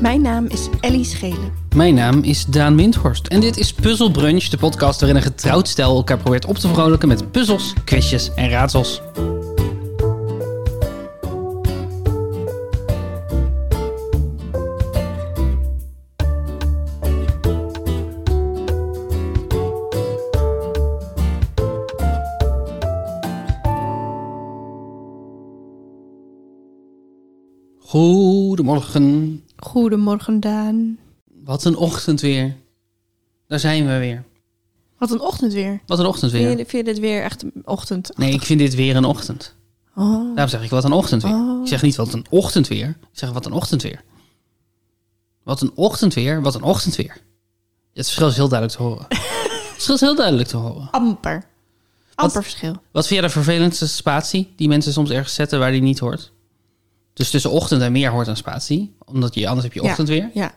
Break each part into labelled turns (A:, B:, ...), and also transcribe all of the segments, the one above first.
A: Mijn naam is Ellie Schelen.
B: Mijn naam is Daan Windhorst en dit is Puzzle Brunch, de podcast waarin een getrouwd stel elkaar probeert op te vrolijken met puzzels, quizjes en raadsels. Goedemorgen.
A: Goedemorgen, Daan.
B: Wat een ochtend weer. Daar zijn we weer.
A: Wat een ochtend weer.
B: Wat een ochtend
A: Vind je,
B: weer.
A: vind je dit weer echt een ochtend?
B: Nee, ik vind dit weer een ochtend.
A: Oh.
B: Daarom zeg ik wat een ochtend weer.
A: Oh.
B: Ik zeg niet wat een ochtend weer. Ik zeg wat een ochtend weer. Wat een ochtend weer, wat een ochtend weer. Het verschil is heel duidelijk te horen. Het verschil is heel duidelijk te horen.
A: Amper. Amper verschil.
B: Wat vind jij de vervelendste spatie die mensen soms ergens zetten waar die niet hoort? Dus tussen ochtend en meer hoort een spatie. Omdat je, anders heb je
A: Ja.
B: ochtend weer.
A: Ja.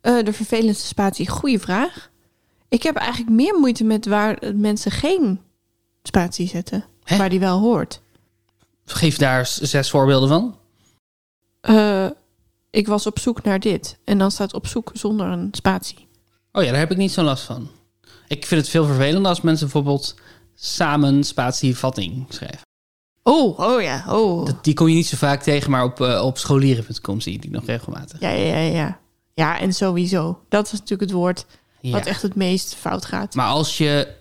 A: Eh, de vervelendste spatie. Goeie vraag. Ik heb eigenlijk meer moeite met waar eh, mensen geen spatie zetten.
B: Hè?
A: Waar die wel hoort.
B: Geef daar eens zes voorbeelden van.
A: Eh, ik was op zoek naar dit. En dan staat op zoek zonder een spatie.
B: Oh ja, daar heb ik niet zo'n last van. Ik vind het veel vervelender als mensen bijvoorbeeld samen spatievatting schrijven.
A: Oh, oh ja. Oh.
B: Dat, die kom je niet zo vaak tegen, maar op, eh, op scholieren.com zie je die nog regelmatig.
A: Ja, ja, ja, ja. Ja, en sowieso. Dat is natuurlijk het woord
B: Ja.
A: wat echt het meest fout gaat.
B: Maar als je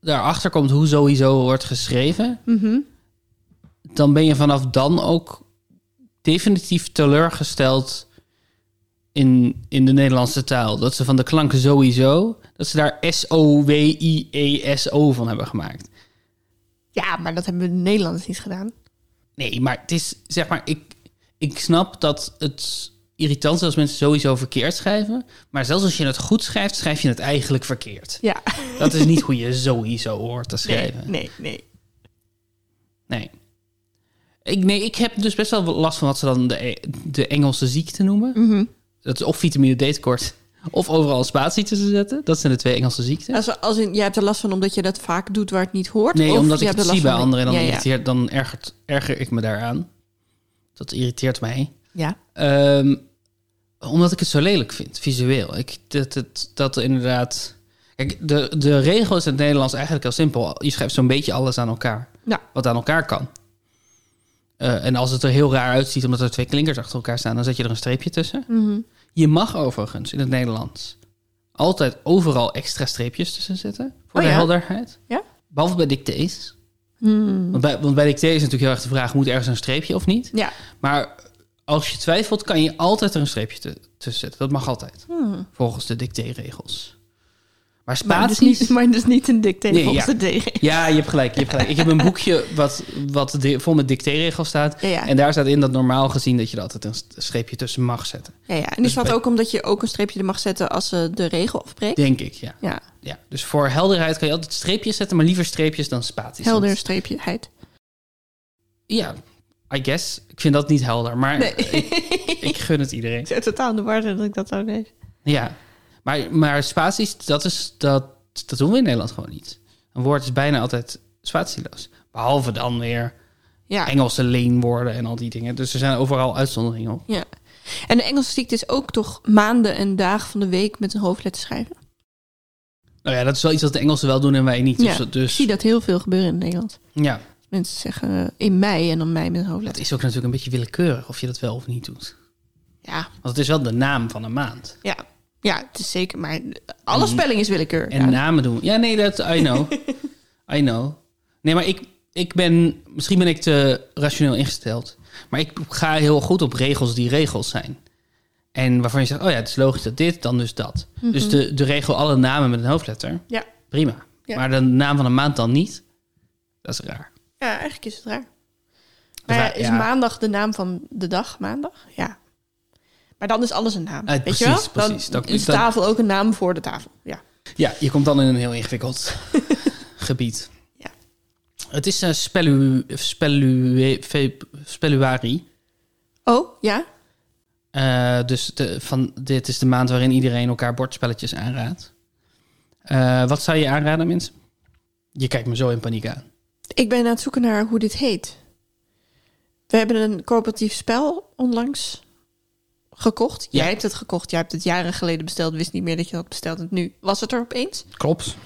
B: daarachter komt hoe sowieso wordt geschreven,
A: Mhm.
B: dan ben je vanaf dan ook definitief teleurgesteld in, in de Nederlandse taal. Dat ze van de klanken sowieso, dat ze daar S-O-W-I-E-S-O E van hebben gemaakt.
A: Ja, maar dat hebben we de Nederlanders niet gedaan.
B: Nee, maar het is zeg maar, ik, ik snap dat het irritant is als mensen sowieso verkeerd schrijven. Maar zelfs als je het goed schrijft, schrijf je het eigenlijk verkeerd.
A: Ja.
B: Dat is niet hoe je sowieso hoort te
A: Nee,
B: schrijven. Nee.
A: nee, nee.
B: Ik, nee, ik heb dus best wel last van wat ze dan de, de Engelse ziekte noemen.
A: Mhm.
B: Dat is of vitamine D tekort, of overal een spatie tussen zetten. Dat zijn de twee Engelse ziekten.
A: Als, als in, jij hebt er last van omdat je dat vaak doet waar het niet hoort?
B: Nee,
A: of
B: omdat
A: je
B: ik
A: hebt
B: het
A: er last
B: zie bij
A: van-
B: anderen en dan,
A: ja, ja.
B: irriteert, dan ergert, erger ik me daaraan. Dat irriteert mij.
A: Ja.
B: Ehm, omdat ik het zo lelijk vind, visueel. Ik, dat, dat, dat er inderdaad. Kijk, de, de regel is in het Nederlands eigenlijk heel simpel. Je schrijft zo'n beetje alles aan elkaar.
A: Ja.
B: Wat aan elkaar kan. Eh, en als het er heel raar uitziet omdat er twee klinkers achter elkaar staan, dan zet je er een streepje tussen.
A: Mhm.
B: Je mag overigens in het Nederlands altijd overal extra streepjes tussen zetten. Voor
A: Oh
B: de
A: ja?
B: helderheid.
A: Ja? Mhm.
B: Behalve bij dictées. Want, bij, want bij dictées is natuurlijk heel erg de vraag: moet ergens een streepje of niet?
A: Ja.
B: Maar als je twijfelt, kan je altijd er een streepje tu- tussen zetten. Dat mag altijd. Volgens de dicté-regels. Maar
A: Hmm. Maar dus,
B: spaties...
A: niet, maar dus niet een dik tegen
B: Nee,
A: ons
B: ja.
A: te tegen.
B: Ja, je hebt gelijk. Je hebt gelijk. Ik heb een boekje wat, wat di- vol met dicté-regels staat.
A: Ja, ja.
B: En daar staat in dat normaal gezien dat je er altijd een st- streepje tussen mag zetten.
A: Ja, ja. En die staat ook omdat je ook een streepje er mag zetten als ze de regel afbreekt.
B: Denk ik, ja.
A: Ja,
B: ja. Dus voor helderheid kan je altijd streepjes zetten, maar liever streepjes dan spaties.
A: helder
B: Want-
A: streepjeheid.
B: Ja, I guess. Ik vind dat niet helder, maar
A: Nee.
B: ik, ik gun het iedereen.
A: Ik zet totaal aan de war dat ik dat zou lees.
B: Ja, maar, maar spaties, dat, is, dat, dat doen we in Nederland gewoon niet. Een woord is bijna altijd spatieloos. Behalve dan weer
A: Ja.
B: Engelse leenwoorden en al die dingen. Dus er zijn overal uitzonderingen op.
A: Ja. En de Engelse ziekte is ook toch maanden en dagen van de week met een hoofdletter schrijven.
B: Nou ja, dat is wel iets wat de Engelsen wel doen en wij niet. Dus,
A: ja.
B: dat- dus
A: Ik zie dat heel veel gebeuren in Nederland.
B: ja,
A: Mensen zeggen eh, in mei en dan mei met een
B: dat
A: hoofdletter.
B: is ook natuurlijk een beetje willekeurig of je dat wel of niet doet.
A: Ja,
B: Want het is wel de naam van een maand.
A: ja. Ja, het is zeker. Maar alle spelling is willekeur.
B: Mhm. En
A: Ja.
B: namen doen. Ja, nee, dat I know. I know. Nee, maar ik, ik ben, misschien ben ik te rationeel ingesteld. Maar ik ga heel goed op regels die regels zijn. En waarvan je zegt, oh ja, het is logisch dat dit, dan dus dat. Dus de, de regel alle namen met een hoofdletter,
A: ja.
B: prima.
A: Ja.
B: Maar de naam van een maand dan niet, dat is raar.
A: ja, eigenlijk is het raar. Maar ja,
B: Raar,
A: is
B: ja.
A: maandag de naam van de dag? Maandag? Ja. Maar dan is alles een naam.
B: Eh,
A: Weet je wel? Dan
B: precies, precies. Dat-
A: is de
B: dat-
A: tafel ook een naam voor de tafel. Ja.
B: Ja, je komt dan in een heel ingewikkeld gebied.
A: Ja.
B: Het is eh, spelu, spelu, fe- speluari.
A: Oh, ja?
B: Eh, dus de, van, dit is de maand waarin iedereen elkaar bordspelletjes aanraadt. Eh, wat zou je aanraden, mensen? Je kijkt me zo in paniek aan.
A: Ik ben aan het zoeken naar hoe dit heet. We hebben een coöperatief spel onlangs gekocht. Jij
B: Ja.
A: hebt het gekocht. Jij hebt het jaren geleden besteld. Wist niet meer dat je dat besteld had. Nu was het er opeens.
B: Klopt.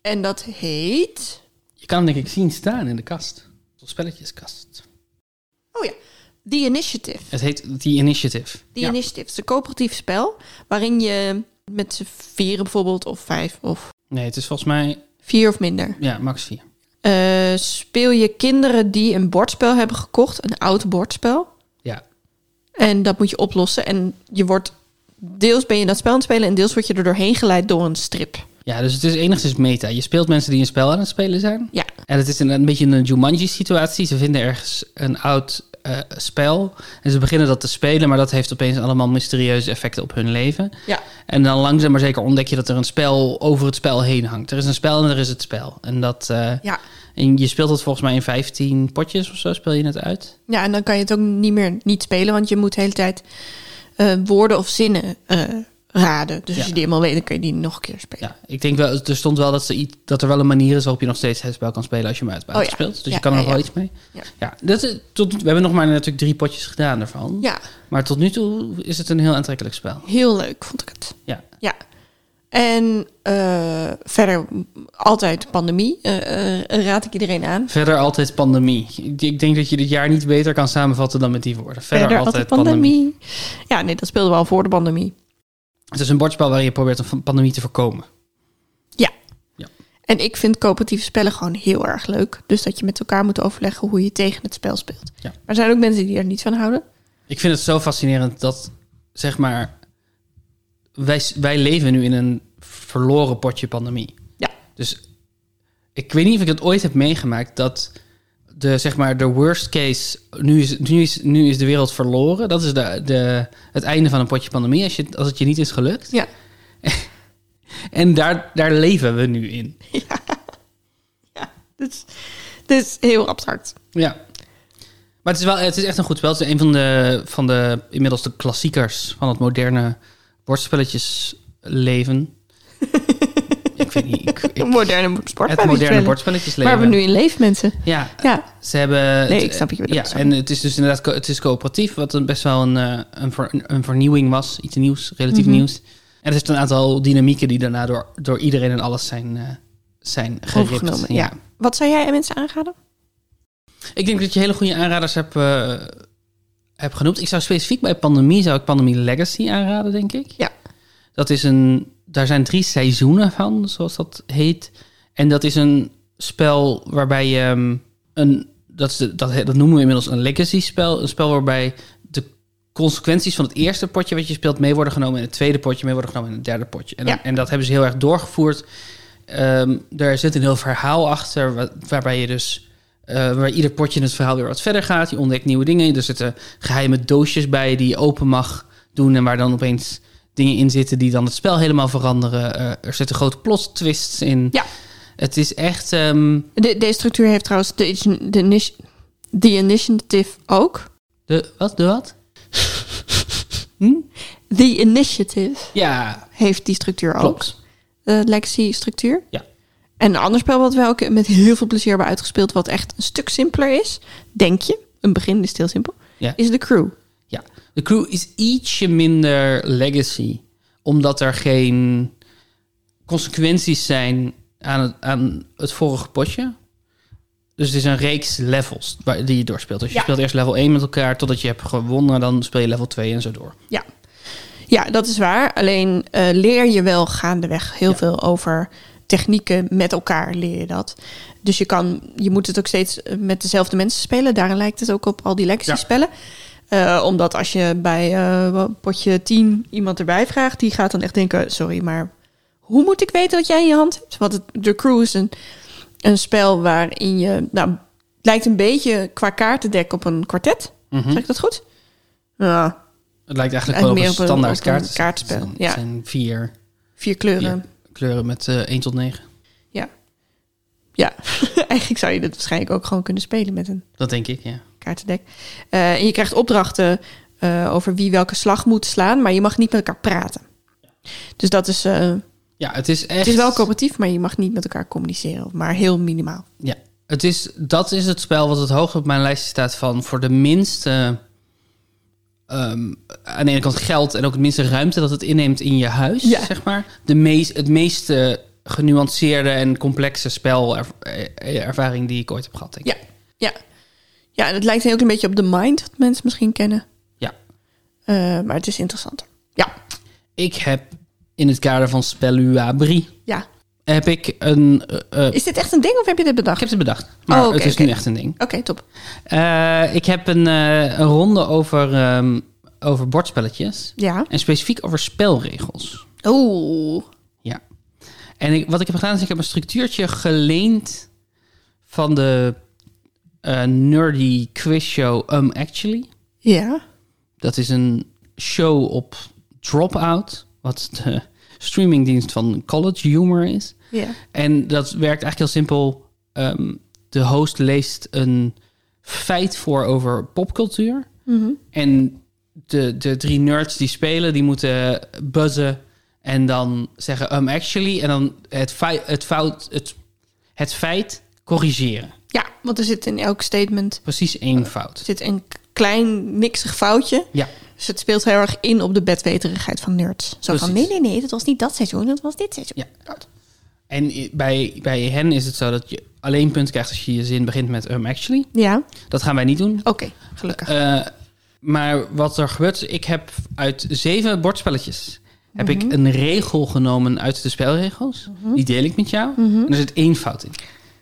A: En dat heet...
B: Je kan hem denk ik zien staan in de kast. Zo'n spelletjeskast.
A: Oh ja, The Initiative.
B: Het heet The Initiative.
A: The
B: Ja.
A: Initiative is een coöperatief spel... waarin je met z'n vieren bijvoorbeeld... of vijf of
B: Nee, het is volgens mij
A: vier of minder...
B: ja, max 4.
A: eh, speel je kinderen die een bordspel hebben gekocht. Een oud bordspel.
B: Ja.
A: En dat moet je oplossen. En je wordt... Deels ben je dat spel aan het spelen... en deels word je er doorheen geleid door een strip.
B: ja, dus het is enigszins meta. Je speelt mensen die een spel aan het spelen zijn.
A: Ja.
B: En het is een, een beetje een Jumanji-situatie. Ze vinden ergens een oud eh, spel en ze beginnen dat te spelen, maar dat heeft opeens allemaal mysterieuze effecten op hun leven.
A: Ja.
B: En dan langzaam maar zeker ontdek je dat er een spel over het spel heen hangt. Er is een spel en er is het spel. En, dat, eh,
A: Ja.
B: en je speelt het volgens mij in 15 potjes of zo, speel je het uit.
A: Ja, en dan kan je het ook niet meer niet spelen, want je moet de hele tijd eh, woorden of zinnen eh, raden. Dus
B: Ja.
A: als je die eenmaal weet, dan kun je die nog een keer spelen.
B: Ja, ik denk wel, er stond wel dat, ze, iets- dat er wel een manier is waarop je nog steeds het spel kan spelen als je hem uit buiten
A: Oh ja.
B: speelt. Dus
A: Ja,
B: je kan er
A: ja,
B: nog wel
A: ja.
B: iets mee.
A: Ja.
B: Ja, dat is, tot, we hebben nog maar natuurlijk drie potjes gedaan daarvan.
A: Ja,
B: Maar tot nu toe is het een heel aantrekkelijk spel.
A: heel leuk vond ik het.
B: Ja.
A: Ja. En eh, verder altijd pandemie. eh, eh, raad ik iedereen aan.
B: Verder altijd pandemie. Ik- Ik denk dat je dit jaar niet beter kan samenvatten dan met die woorden. Verder, altijd pandemie.
A: Ja, nee, dat speelden we al voor de pandemie.
B: Het is een bordspel waarin je probeert een pandemie te voorkomen.
A: En ik vind coöperatieve spellen gewoon heel erg leuk. Dus dat je met elkaar moet overleggen hoe je tegen het spel speelt.
B: Ja.
A: Maar er zijn ook mensen die er niet van houden.
B: Ik vind het zo fascinerend dat, zeg maar, wij, wij leven nu in een verloren potje pandemie.
A: Ja.
B: Dus ik weet niet of ik dat ooit heb meegemaakt dat de, zeg maar, de worst case, nu is, nu is, nu is de wereld verloren. Dat is de, de, het einde van een potje pandemie als, je, als het je niet is gelukt.
A: Ja.
B: En daar, daar leven we nu in.
A: Ja, dus, dus heel abstract.
B: Ja. Maar het is, wel, het is echt een goed spel. Het is een van de, van de inmiddels de klassiekers van het moderne bordspelletjesleven. ik weet niet. Ik, ik-
A: Een moderne sport.
B: het moderne bordspelletjesleven.
A: Waar we nu in leven, mensen.
B: Ja,
A: Ja,
B: ze hebben...
A: Nee,
B: het-
A: ik snap je bedoelt,
B: Ja,
A: sorry.
B: en het is dus inderdaad co- het is coöperatief, wat een best wel een, eh, een, ver- een vernieuwing was. Iets nieuws, relatief
A: Mhm.
B: nieuws. En er heeft een aantal dynamieken die daarna door, door iedereen en alles zijn, eh, zijn geript.
A: overgenomen. Ja. Wat zou jij mensen aanraden?
B: Ik denk dat je hele goede aanraders hebt, eh, hebt genoemd. Ik zou specifiek bij pandemie, zou ik pandemie Legacy aanraden, denk ik.
A: Ja.
B: Dat is een, daar zijn drie seizoenen van, zoals dat heet. En dat is een spel waarbij je ehm, een, dat, is de- dat, he- dat noemen we inmiddels een legacy spel. Een spel waarbij de consequenties van het eerste potje wat je speelt mee worden genomen in het tweede potje, mee worden genomen in het derde potje. En, dan-
A: Ja.
B: en dat hebben ze heel erg doorgevoerd. Ehm er zit een heel verhaal achter, wa- waarbij je dus eh, waar ieder potje in het verhaal weer wat verder gaat. Je ontdekt nieuwe dingen. Er zitten geheime doosjes bij die je open mag doen. En waar dan opeens dingen in zitten die dan het spel helemaal veranderen. Eh, er zitten grote plot twists in.
A: Ja.
B: Het is echt. ehm,
A: De, deze structuur heeft trouwens de, de, initi- de initiative ook.
B: de wat? De wat?
A: The initiative
B: Ja,
A: heeft die structuur ook.
B: klopt.
A: De legacy structuur.
B: Ja.
A: En een ander spel wat wij ook met heel veel plezier hebben uitgespeeld, wat echt een stuk simpeler is, denk je, een begin is heel simpel,
B: Ja.
A: is de crew.
B: Ja, de crew is ietsje minder legacy, omdat er geen consequenties zijn aan het, aan het vorige potje. Dus het is een reeks levels waar- die je doorspeelt. Dus je
A: Ja.
B: speelt eerst level 1 met elkaar totdat je hebt gewonnen, dan speel je level 2 en zo door.
A: Ja. ja, dat is waar. Alleen eh, leer je wel gaandeweg heel veel over technieken met elkaar leer je dat. Dus je, kan, je moet het ook steeds eh, met dezelfde mensen spelen. Daarin lijkt het ook op al die legacy
B: Ja.
A: spellen. Eh, omdat als je bij eh, wat- potje 10 iemand erbij vraagt, die gaat dan echt denken: sorry, maar hoe moet ik weten wat jij in je hand hebt? Want het, de crew is een, een spel waarin je. Nou, het lijkt een beetje qua kaartendek op een kwartet. Zeg ik dat goed? Ja,
B: Het lijkt eigenlijk
A: Eigenlijk
B: wel op
A: meer
B: een
A: op een-
B: standaard
A: op een
B: kaart.
A: kaartspel,
B: Het zijn-
A: ja.
B: het zijn vier,
A: vier kleuren.
B: vier kleuren met eh 1 tot 9.
A: Ja. Ja, eigenlijk zou je dit waarschijnlijk ook gewoon kunnen spelen met een
B: Dat denk ik, ja.
A: kaartendek. Eh, en je krijgt opdrachten eh, over wie welke slag moet slaan, maar je mag niet met elkaar praten. Dus dat is. eh,
B: Ja, het is echt...
A: het is wel coöperatief, maar je mag niet met elkaar communiceren, maar heel minimaal.
B: Ja, het is, dat is het spel wat het hoogst op mijn lijstje staat van voor de minste eh, ehm, aan de ene kant geld en ook het minste ruimte dat het inneemt in je huis,
A: Ja.
B: zeg maar. De meest, het meest eh, genuanceerde en complexe spelervaring eh, die ik ooit heb gehad, denk ik.
A: Ja. Ja. Ja, en het lijkt ook een beetje op The Mind, wat mensen misschien kennen.
B: Ja.
A: Eh, maar het is interessanter. Ja.
B: Ik heb in het kader van Spelluabri,
A: Ja.
B: heb ik een... eh, eh,
A: Is dit echt een ding of heb je dit
B: ik
A: bedacht?
B: heb het bedacht, maar
A: Oh, oké,
B: het is nu
A: oké.
B: echt een ding.
A: Oké, top.
B: Eh, ik heb een, eh, een ronde over, ehm, over bordspelletjes.
A: Ja.
B: En specifiek over spelregels.
A: Oeh.
B: Ja. En ik, wat ik heb gedaan is, ik heb een structuurtje geleend van de eh, nerdy quizshow Um Actually.
A: Ja.
B: Dat is een show op Dropout, wat de streamingdienst van College Humor is.
A: Ja.
B: En dat werkt eigenlijk heel simpel. Ehm, de host leest een feit voor over popcultuur. En de, de drie nerds die spelen, die moeten buzzen en dan zeggen um actually. En dan het, fei- het, fout, het, het feit corrigeren.
A: Ja, want er zit in elk statement
B: Precies één fout.
A: zit een klein niksig foutje.
B: Ja,
A: Dus het speelt heel erg in op de bedweterigheid van nerds. Zo van, nee,
B: Precies.
A: nee, nee, dat was niet dat seizoen, dat was dit seizoen.
B: ja. En i- bij, bij hen is het zo dat je alleen punten krijgt als je je zin begint met um actually.
A: Ja,
B: Dat gaan wij niet doen.
A: oké, gelukkig.
B: Eh, maar wat er gebeurt, is, ik heb uit zeven bordspelletjes heb
A: Mhm.
B: ik een regel genomen uit de spelregels. Die deel ik met jou.
A: Mhm.
B: En er zit één fout in.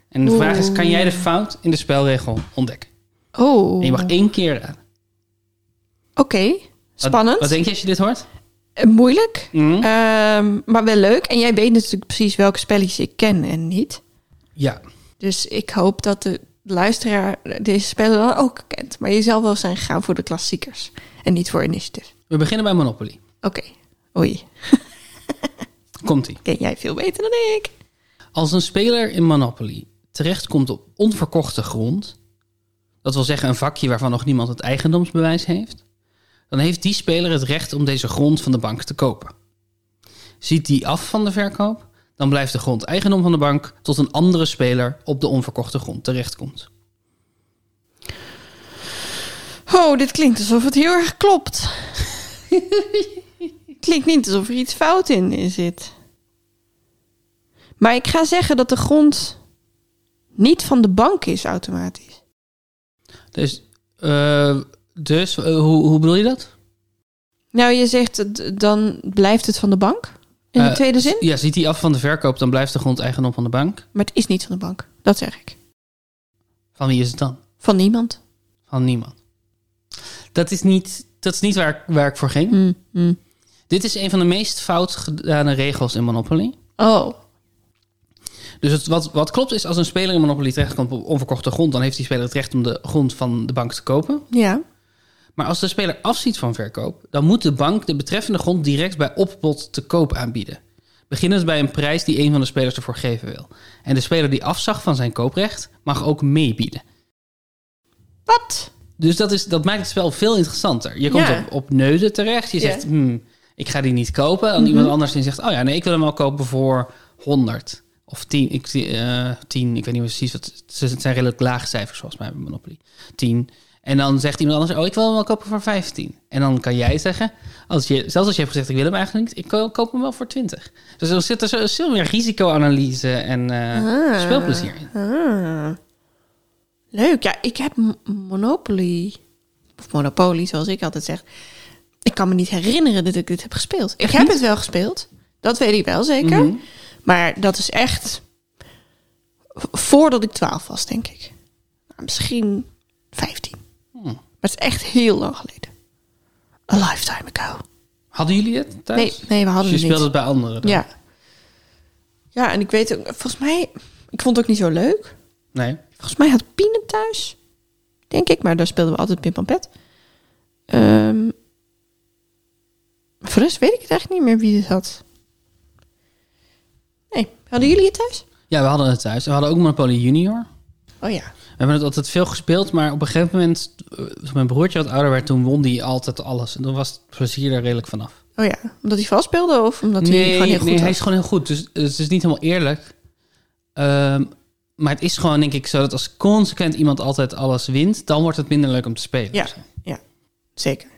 B: En de vraag is, kan jij de fout in de spelregel ontdekken?
A: oh,
B: En je mag
A: oké,
B: één keer raden. Wat-
A: spannend.
B: Wat, denk je als je dit hoort?
A: Eh, Moeilijk,
B: Mhm.
A: ehm, maar wel leuk. En jij weet natuurlijk precies welke spelletjes ik ken en niet.
B: Ja.
A: Dus ik hoop dat de luisteraar deze spellen dan ook kent. Maar je zal wel zijn gegaan voor de klassiekers en niet voor initiative.
B: We beginnen bij Monopoly.
A: Oké, oei,
B: Komt-ie.
A: ken jij veel beter dan ik.
B: Als een speler in Monopoly terechtkomt op onverkochte grond, dat wil zeggen een vakje waarvan nog niemand het eigendomsbewijs heeft, dan heeft die speler het recht om deze grond van de bank te kopen. Ziet die af van de verkoop, dan blijft de grond eigendom van de bank tot een andere speler op de onverkochte grond terechtkomt.
A: Oh, dit klinkt alsof het heel erg klopt. klinkt niet alsof er iets fout in zit. Maar ik ga zeggen dat de grond niet van de bank is automatisch.
B: Dus, eh, dus eh, hoe, hoe bedoel je dat?
A: Nou, je zegt het, dan blijft het van de bank in de
B: Eh,
A: tweede zin.
B: Ja, ziet die af van de verkoop, dan blijft de grond eigendom van de bank.
A: Maar het is niet van de bank, dat zeg ik.
B: Van wie is het dan?
A: Van niemand.
B: Van niemand. Dat is niet, dat is niet waar, waar ik voor ging.
A: Hm, hm.
B: Dit is een van de meest fout gedane regels in Monopoly.
A: Oh,
B: Dus het, wat, wat klopt is, als een speler in Monopoly terechtkomt op onverkochte grond, dan heeft die speler het recht om de grond van de bank te kopen.
A: ja.
B: Maar als de speler afziet van verkoop, dan moet de bank de betreffende grond direct bij opbod te koop aanbieden. Beginnend bij een prijs die een van de spelers ervoor geven wil. En de speler die afzag van zijn kooprecht, mag ook meebieden.
A: Wat?
B: Dus dat, is, dat maakt het spel veel interessanter. Je komt
A: Ja.
B: op, op neuzen terecht. Je
A: Ja. Mhm.
B: zegt, hmm, ik ga die niet kopen. En iemand anders die zegt, oh ja, nee, ik wil hem wel kopen voor 100. Of 10, ik, eh 10, ik weet niet precies. Wat, het zijn- het zijn redelijk lage cijfers volgens mij bij Monopoly. 10. En dan zegt iemand anders, oh, ik wil hem wel kopen voor 15. En dan kan jij zeggen, als je, zelfs als je hebt gezegd, ik wil hem eigenlijk niet, ik ko- koop hem wel voor 20. Dus er zit er zo- veel meer risicoanalyse en eh,
A: Ah.
B: speelplezier in.
A: Ah. Leuk. Ja, ik heb M- Monopoly. Of Monopoly, zoals ik altijd zeg. Ik kan me niet herinneren dat ik dit heb gespeeld. Ik heb het wel gespeeld. Dat weet ik wel zeker.
B: Mhm.
A: Maar dat is echt v- voordat ik 12 was, denk ik. Nou, misschien 15.
B: Hmm.
A: Maar het is echt heel lang geleden. A lifetime ago.
B: Hadden jullie het thuis?
A: Nee, nee, we hadden
B: Dus je
A: het niet.
B: speelde het bij anderen dan?
A: Ja. Ja, en ik weet ook, volgens mij, ik vond het ook niet zo leuk.
B: Nee.
A: Volgens mij had Pien het thuis. Denk ik, maar daar speelden we altijd Pim Pam Pet. Ehm, voor de rest weet ik het eigenlijk niet meer wie dit had. Nee, hadden jullie het thuis?
B: Ja, we hadden het thuis. We hadden ook Monopoly Junior.
A: Oh ja.
B: We hebben het altijd veel gespeeld, maar op een gegeven moment, eh, toen mijn broertje wat ouder werd, toen won die altijd alles. En dan was het plezier er redelijk vanaf.
A: Oh ja, omdat hij vast speelde of omdat hij gewoon heel goed
B: nee hij
A: was?
B: is gewoon heel goed. Dus eh, het is niet helemaal eerlijk. Ehm, maar het is gewoon, denk ik, zo dat als consequent iemand altijd alles wint, dan wordt het minder leuk om te spelen.
A: Ja, zeker.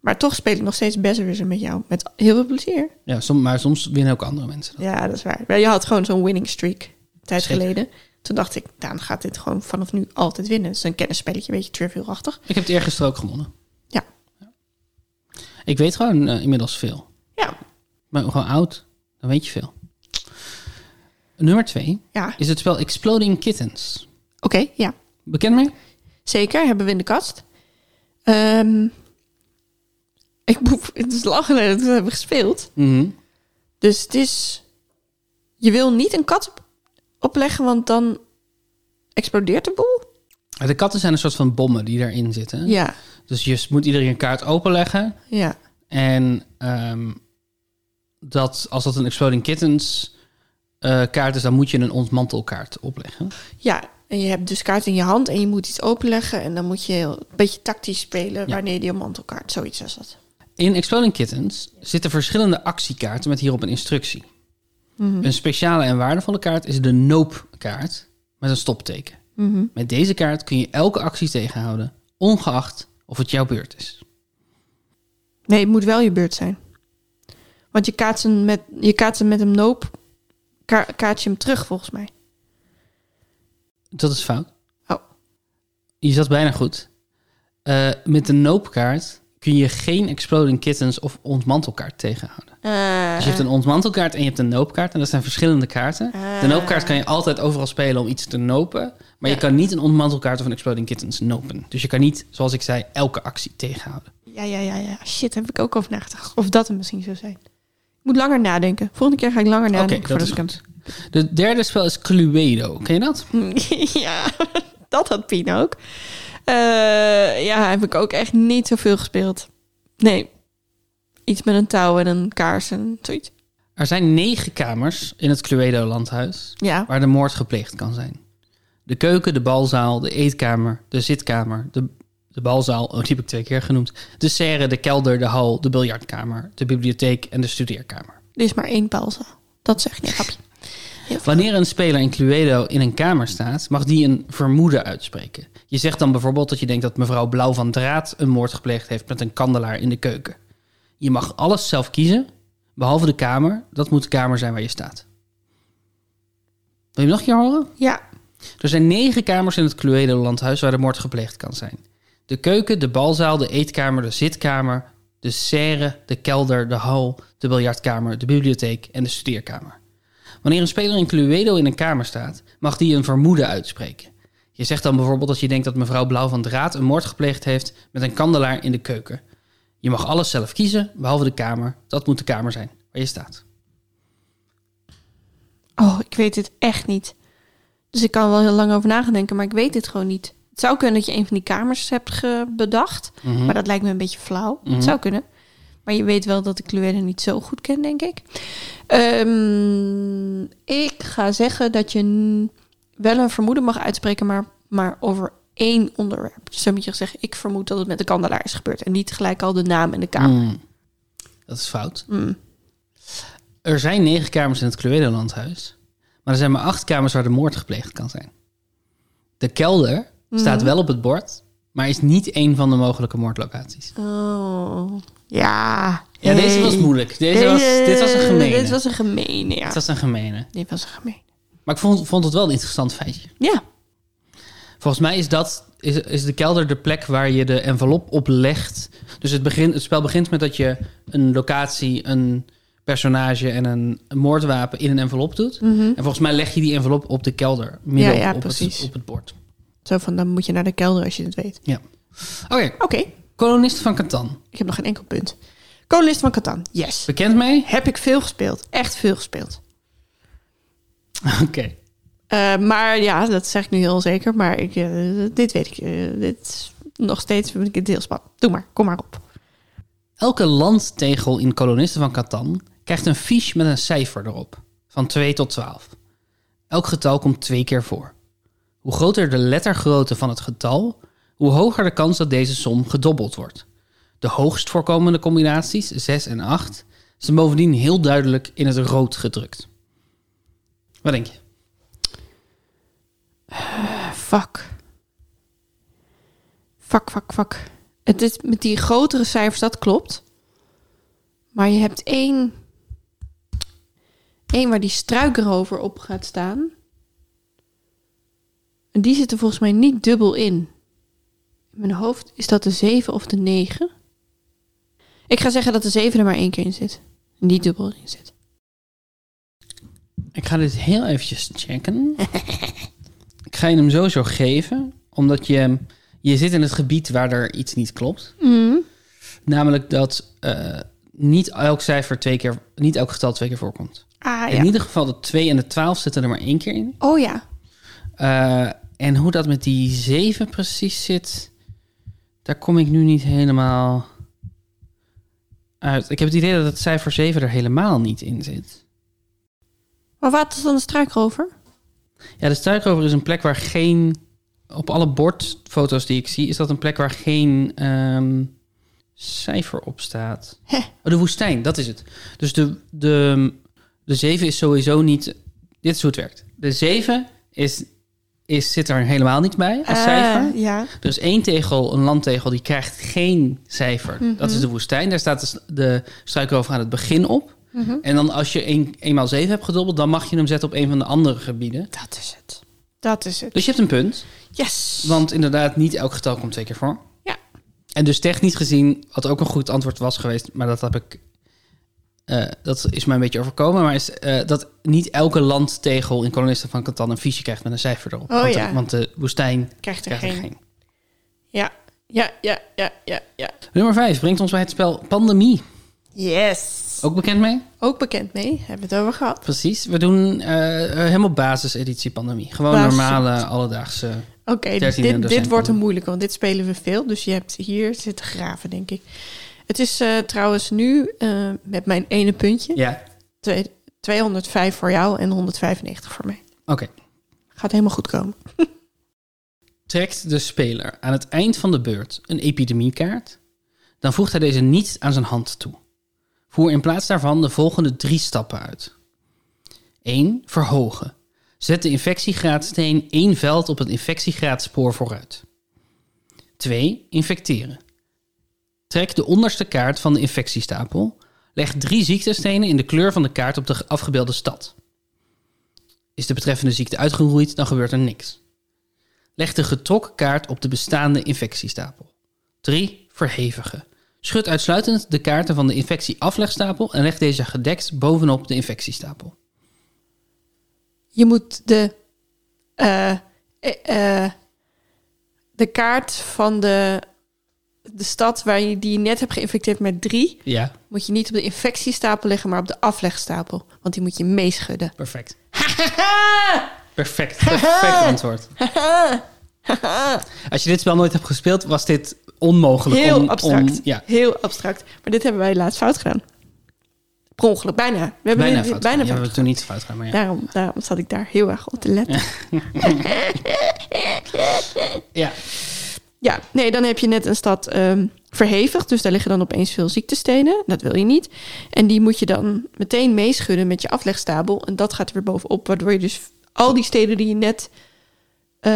A: Maar toch speel ik nog steeds Besserwisser met jou. Met heel veel plezier.
B: Ja, som- maar soms winnen ook andere mensen. dat.
A: Ja, dat is waar. Maar je had gewoon zo'n winning streak. Een tijd
B: Zeker.
A: geleden. Toen dacht ik, Daan gaat dit gewoon vanaf nu altijd winnen. Het is een kennisspelletje, een beetje trivialachtig.
B: Ik heb het eergisteren ook gewonnen.
A: Ja.
B: Ik weet gewoon eh, inmiddels veel.
A: Ja.
B: Maar gewoon oud, dan weet je veel. Nummer twee
A: Ja. Oké,
B: is het spel Exploding Kittens.
A: ja.
B: Bekend mee?
A: Zeker, hebben we in de kast. Ehm, ik boef, het is lang geleden dat we hebben gespeeld. Dus het is... Je wil niet een kat op- opleggen, want dan explodeert de boel.
B: De katten zijn een soort van bommen die daarin zitten.
A: Ja,
B: Dus je moet iedereen een kaart openleggen.
A: ja.
B: En ehm, dat, als dat een Exploding Kittens eh, kaart is, dan moet je een ontmantelkaart opleggen.
A: Ja, en je hebt dus kaart in je hand en je moet iets openleggen. En dan moet je heel- een beetje tactisch spelen
B: Ja.
A: wanneer je die mantelkaart, zoiets als dat.
B: In Exploding Kittens zitten verschillende actiekaarten met hierop een instructie. Een speciale en waardevolle kaart is de Nope-kaart met een stopteken. Met deze kaart kun je elke actie tegenhouden, ongeacht of het jouw beurt is.
A: Nee, het moet wel je beurt zijn. Want je kaatst hem met, je kaatst hem, met een noop, ka kaats je hem terug volgens mij.
B: Dat is fout.
A: Oh.
B: Je zat bijna goed. Eh, met de Nope-kaart kun je geen Exploding Kittens of ontmantelkaart tegenhouden.
A: Eh,
B: Dus je hebt een ontmantelkaart en je hebt een noopkaart. En dat zijn verschillende kaarten.
A: eh,
B: De noopkaart kan je altijd overal spelen om iets te nopen. Maar je kan niet een ontmantelkaart of een Exploding Kittens nopen. Dus je kan niet, zoals ik zei, elke actie tegenhouden.
A: Ja, ja, ja, ja. Shit, heb ik ook over nagedacht. Of dat het misschien zou zijn. Ik moet langer nadenken. Volgende keer ga ik langer nadenken
B: dat
A: voordat ik hem...
B: De derde spel is Cluedo. Ken je dat?
A: ja, dat had Pien ook. Eh, ja, heb ik ook echt niet zoveel gespeeld. Nee. Iets met een touw en een kaars en zoiets.
B: Er zijn negen kamers in het Cluedo-landhuis
A: Ja.
B: waar de moord gepleegd kan zijn. De keuken, de balzaal, de eetkamer, de zitkamer, de, de balzaal, oh, die heb ik twee keer genoemd. De serre, de kelder, de hal, de biljartkamer, de bibliotheek en de studeerkamer.
A: Er is maar één pauze. Dat zeg ik niet, grapje. Heel veel.
B: Wanneer een speler in Cluedo in een kamer staat, mag die een vermoeden uitspreken. Je zegt dan bijvoorbeeld dat je denkt dat mevrouw Blauw van Draat een moord gepleegd heeft met een kandelaar in de keuken. Je mag alles zelf kiezen, behalve de kamer. Dat moet de kamer zijn waar je staat. Wil je hem nog een keer horen?
A: Ja.
B: Er zijn negen kamers in het Cluedo-landhuis waar de moord gepleegd kan zijn. De keuken, de balzaal, de eetkamer, de zitkamer, de serre, de kelder, de hal, de biljartkamer, de bibliotheek en de studeerkamer. Wanneer een speler in Cluedo in een kamer staat, mag die een vermoeden uitspreken. Je zegt dan bijvoorbeeld dat je denkt dat mevrouw Blauw van Draat een moord gepleegd heeft met een kandelaar in de keuken. Je mag alles zelf kiezen, behalve de kamer. Dat moet de kamer zijn waar je staat.
A: Oh, ik weet dit echt niet. Dus ik kan er wel heel lang over nadenken, maar ik weet dit gewoon niet. Het zou kunnen dat je een van die kamers hebt ge- bedacht. Maar dat lijkt me een beetje flauw.
B: Mhm.
A: Het zou kunnen. Maar je weet wel dat ik Cluedo niet zo goed ken, denk ik. Ehm, ik ga zeggen dat je n- wel een vermoeden mag uitspreken, maar, maar over één onderwerp. Dus dan moet je zeggen, ik vermoed dat het met de kandelaar is gebeurd. En niet gelijk al de naam en de kamer. Mm.
B: Mm. Dat is fout. Er zijn negen kamers in het Cluedo-landhuis. Maar er zijn maar acht kamers waar de moord gepleegd kan zijn. De kelder
A: Mhm.
B: staat wel op het bord, maar is niet één van de mogelijke moordlocaties.
A: Oh, ja.
B: Ja, deze was
A: Hey.
B: moeilijk. Deze was, dit was een gemene.
A: Dit was een gemene, ja.
B: Dit was een gemene.
A: Dit was een gemene.
B: Maar ik vond, vond het wel een interessant feitje.
A: Ja.
B: Volgens mij is, dat, is, is de kelder de plek waar je de envelop op legt. Dus het, begin, het spel begint met dat je een locatie, een personage en een, een moordwapen in een envelop doet. En volgens mij leg je die envelop op de kelder, midden
A: Mhm. Ja, ja,
B: op, het,
A: precies.
B: op het bord.
A: Zo van, dan moet je naar de kelder als je het weet.
B: Ja. Oké,
A: Oké,
B: kolonist van Catan.
A: ik heb nog geen enkel punt. Kolonist van Catan, yes.
B: Bekend mee?
A: Heb ik veel gespeeld. Echt veel gespeeld.
B: Oké.
A: Eh, maar ja, dat zeg ik nu heel zeker. Maar ik, eh, dit weet ik. eh, dit is- nog steeds vind ik het heel spannend. Doe maar, kom maar op.
B: Elke landtegel in kolonisten van Catan krijgt een fiche met een cijfer erop, van 2 tot 12. Elk getal komt twee keer voor. Hoe groter de lettergrootte van het getal, hoe hoger de kans dat deze som gedobbeld wordt. De hoogst voorkomende combinaties, 6 en 8, zijn bovendien heel duidelijk in het rood gedrukt. Wat denk je?
A: Fuck. Fuck, fuck, fuck. Het is met die grotere cijfers, dat klopt. Maar je hebt één... één waar die struikrover op gaat staan. En die zit er volgens mij niet dubbel in. In mijn hoofd is dat de 7 of de 9. Ik ga zeggen dat de 7 er maar één keer in zit. Niet dubbel in zit.
B: Ik ga dit heel eventjes checken. ik ga je hem sowieso geven, omdat je, je zit in het gebied waar er iets niet klopt. Namelijk dat eh, niet elk cijfer twee keer, niet elk getal twee keer voorkomt.
A: Ah
B: In
A: ja.
B: ieder geval de 2 en de 12 zitten er maar één keer in.
A: Oh ja.
B: Eh, en hoe dat met die 7 precies zit, daar kom ik nu niet helemaal uit. Ik heb het idee dat het cijfer 7 er helemaal niet in zit.
A: Maar wat is dan de struikrover?
B: Ja, de struikrover is een plek waar geen. Op alle bordfoto's die ik zie, is dat een plek waar geen ehm, cijfer op staat.
A: Hè.
B: Oh, de woestijn, dat is het. Dus de, de, de 7 is sowieso niet. Dit is hoe het werkt. De 7 is, is, zit er helemaal niet bij als
A: Ah,
B: cijfer.
A: Ja.
B: Er is één tegel, een landtegel, die krijgt geen cijfer.
A: Mhm.
B: Dat is de woestijn. Daar staat de, s- de struikrover aan het begin op.
A: Mhm.
B: En dan als je een, eenmaal 7 hebt gedobbeld, dan mag je hem zetten op een van de andere gebieden.
A: Dat is het. Dat is het.
B: Dus je hebt een punt,
A: Yes.
B: want inderdaad, niet elk getal komt twee keer voor.
A: Ja.
B: En dus technisch gezien, wat ook een goed antwoord was geweest, maar dat heb ik. eh, dat is mij een beetje overkomen, maar is eh, dat niet elke landtegel in kolonisten van Catan een fiche krijgt met een cijfer erop.
A: Oh
B: want, eh,
A: ja.
B: want de woestijn
A: Krijgt er
B: krijgt
A: geen.
B: er geen.
A: Ja. Ja, ja, ja, ja, ja.
B: Nummer 5 brengt ons bij het spel Pandemie.
A: Yes.
B: Ook bekend mee?
A: Ook bekend mee. Hebben we het over gehad.
B: Precies. We doen eh, eh, helemaal basiseditie Pandemie. Gewoon
A: Basis.
B: normale, alledaagse.
A: Oké, dit,
B: 13e
A: dit
B: docent
A: wordt een
B: van-
A: moeilijke, want dit spelen we veel. Dus je hebt hier zitten graven, denk ik. Het is eh, trouwens nu eh, met mijn ene puntje.
B: Ja,
A: twee- 205 voor jou en 195 voor mij.
B: oké.
A: Gaat helemaal goed komen.
B: Trekt de speler aan het eind van de beurt een epidemiekaart, dan voegt hij deze niet aan zijn hand toe. Voer in plaats daarvan de volgende drie stappen uit. 1. Verhogen. Zet de infectiegradssteen één veld op het infectiegradsspoor vooruit. 2. Infecteren. Trek de onderste kaart van de infectiestapel. Leg drie ziektestenen in de kleur van de kaart op de afgebeelde stad. Is de betreffende ziekte uitgeroeid, dan gebeurt er niks. Leg de getrokken kaart op de bestaande infectiestapel. 3. Verhevigen. Schud uitsluitend de kaarten van de infectieaflegstapel en leg deze gedekt bovenop de infectiestapel.
A: Je moet de, eh, eh, eh, de kaart van de, de stad waar je, die je net hebt geïnfecteerd met drie...
B: Ja,
A: moet je niet op de infectiestapel leggen, maar op de aflegstapel. Want die moet je meeschudden.
B: perfect. Perfect, perfect antwoord. Als je dit spel nooit hebt gespeeld, was dit onmogelijk.
A: Heel
B: om- om-
A: abstract.
B: ja,
A: Heel abstract. Maar dit hebben wij laatst fout gedaan. Per ongeluk, bijna. We hebben
B: bijna
A: dit-
B: fout.
A: bijna
B: Bijna ja, we
A: fout.
B: hebben toen niet fout gedaan, maar ja.
A: Daarom, daarom zat ik daar heel erg op te letten.
B: ja.
A: Ja, nee, dan heb je net een stad ehm verhevigd. Dus daar liggen dan opeens veel ziektestenen. Dat wil je niet. En die moet je dan meteen meeschudden met je aflegstapel. En dat gaat er weer bovenop. Waardoor je dus al die steden die je net eh,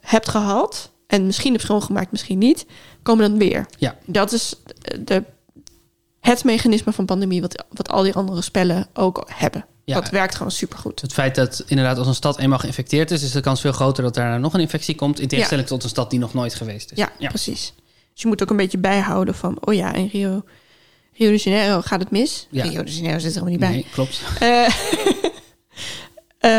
A: hebt gehaald... en misschien hebt schoongemaakt, misschien niet... komen dan weer.
B: Ja.
A: Dat is eh, de, het mechanisme van pandemie... Wat, wat al die andere spellen ook hebben.
B: Ja.
A: Dat werkt gewoon supergoed.
B: Dus Het feit dat inderdaad als een stad eenmaal geïnfecteerd is, is de kans veel groter dat daarna nog een infectie komt. In tegenstelling tot een stad die nog nooit geweest is.
A: Ja, precies. Dus je moet ook een beetje bijhouden van, oh ja, in Rio, Rio de Janeiro gaat het mis.
B: Ja.
A: Rio de Janeiro zit er helemaal niet bij.
B: Nee, klopt.
A: Eh,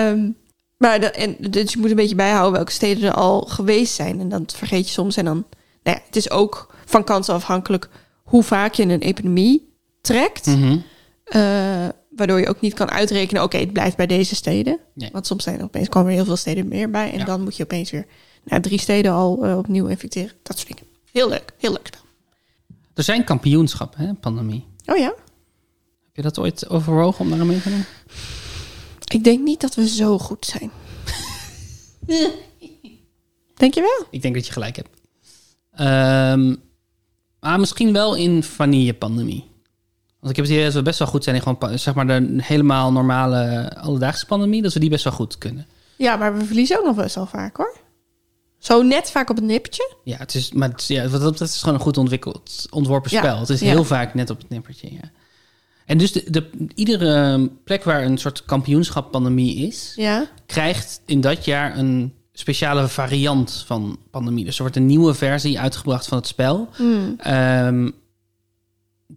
A: ehm, maar dat, en, dus je moet een beetje bijhouden welke steden er al geweest zijn. En dat vergeet je soms. En dan, nou ja, het is ook van kansen afhankelijk hoe vaak je een epidemie trekt.
B: Mhm.
A: Eh, waardoor je ook niet kan uitrekenen, oké, het blijft bij deze steden.
B: Nee.
A: Want soms zijn er opeens komen er heel veel steden meer bij. En
B: Ja.
A: dan moet je opeens weer naar drie steden al eh, opnieuw infecteren. Dat soort dingen. Heel leuk, heel leuk spel.
B: Er zijn kampioenschappen, hè, pandemie.
A: Oh ja,
B: Heb je dat ooit overwogen om daar aan mee te doen?
A: ik denk niet dat we zo goed zijn. denk je wel?
B: Ik denk dat je gelijk hebt. Ehm, maar misschien wel in vanille-pandemie. Want ik heb het idee dat we best wel goed zijn in gewoon, pa- zeg maar, de helemaal normale alledaagse pandemie. Dat we die best wel goed kunnen.
A: Ja, maar we verliezen ook nog best wel vaak hoor. Zo net vaak op het nippertje.
B: Ja, het is, maar het is- ja, wat dat betreft is het gewoon een goed ontwikkeld, ontworpen
A: Ja,
B: spel. Het is
A: ja.
B: heel vaak net op het nippertje, ja. En dus de, de, iedere plek waar een soort kampioenschap pandemie is,
A: Ja.
B: krijgt in dat jaar een speciale variant van pandemie. Dus er wordt een nieuwe versie uitgebracht van het spel.
A: Hmm.
B: Ehm,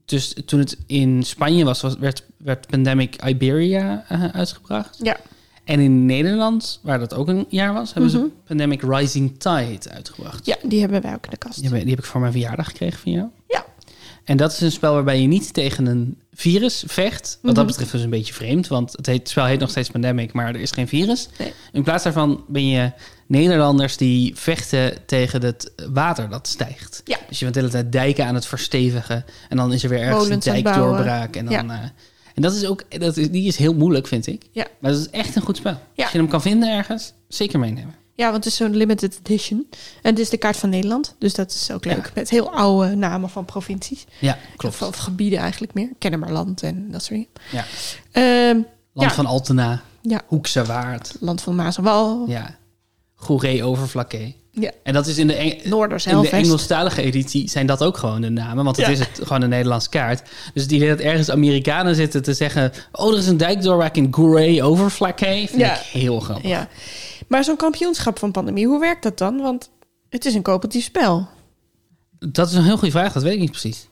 B: dus toen het in Spanje was, was- werd, werd Pandemic Iberia eh, uitgebracht.
A: Ja.
B: En in Nederland, waar dat ook een jaar was, hebben
A: Mhm.
B: ze Pandemic Rising Tide uitgebracht.
A: ja, die hebben wij ook in de kast.
B: Die heb, die heb ik voor mijn verjaardag gekregen van jou.
A: Ja.
B: En dat is een spel waarbij je niet tegen een virus vecht. Wat
A: Mhm.
B: dat betreft is een beetje vreemd, want het, heet, het spel heet nog steeds Pandemic, maar er is geen virus.
A: Nee.
B: In plaats daarvan ben je Nederlanders die vechten tegen het water dat stijgt.
A: Ja.
B: Dus je bent de hele tijd dijken aan het verstevigen. En dan is er weer ergens
A: Molens aan
B: een
A: het bouwen.
B: dijkdoorbraak. En, dan, eh, en dat is ook, dat is, die is heel moeilijk, vind ik.
A: Ja.
B: Maar dat is echt een goed spel.
A: Ja.
B: Als je hem kan vinden ergens, zeker meenemen.
A: Ja, want het is zo'n limited edition. En het is de kaart van Nederland. Dus dat is ook
B: Ja.
A: leuk. Met heel oude namen van provincies.
B: Ja,
A: Of,
B: klopt.
A: of gebieden eigenlijk meer. Kennemerland en dat soort dingen.
B: Ja.
A: Ehm, Ja.
B: Land van Altena,
A: Ja.
B: Hoekse Waard.
A: land van Maas en Wal.
B: Ja. Goeree overvlakke.
A: Ja.
B: En dat is in de, Eng-
A: Noorders,
B: in de
A: Helvest.
B: Engelstalige editie zijn dat ook gewoon de namen. Want het
A: Ja.
B: is het, gewoon een Nederlands kaart. Dus die dat ergens Amerikanen zitten te zeggen... Oh, er is een dijkdoorbraak in Goeree overvlakke. Vind
A: Ja.
B: ik heel grappig.
A: Ja. Maar zo'n kampioenschap van pandemie, hoe werkt dat dan? Want het is een coöperatief spel.
B: Dat is een heel goede vraag. Dat weet ik niet precies.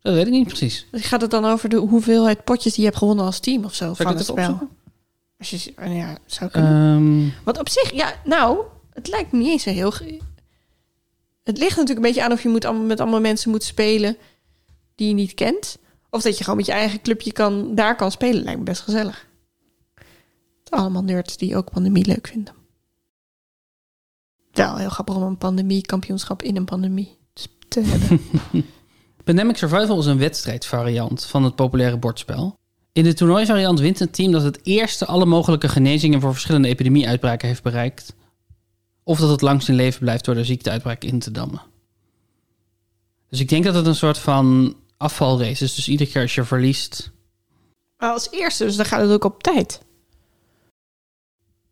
B: Dat weet ik niet precies.
A: Gaat het dan over de hoeveelheid potjes die je hebt gewonnen als team of zo
B: ik
A: van
B: dat
A: het
B: even
A: spel? Als je, ja, zou kunnen.
B: Ehm,
A: Want op zich, ja, nou, het lijkt me niet eens zo heel... ge- Het ligt natuurlijk een beetje aan of je moet allemaal, met allemaal mensen moet spelen die je niet kent. Of dat je gewoon met je eigen clubje kan, daar kan spelen. Lijkt me best gezellig. Allemaal nerds die ook pandemie leuk vinden. Wel heel grappig om een pandemie-kampioenschap in een pandemie te hebben.
B: Pandemic Survival is een wedstrijdvariant van het populaire bordspel. In de toernooivariant wint een team dat het eerste alle mogelijke genezingen voor verschillende epidemieuitbraken heeft bereikt. Of dat het langst in leven blijft door de ziekteuitbraak in te dammen. Dus ik denk dat het een soort van afvalrace is. Dus iedere keer als je verliest.
A: maar als eerste, dus dan gaat het ook op tijd.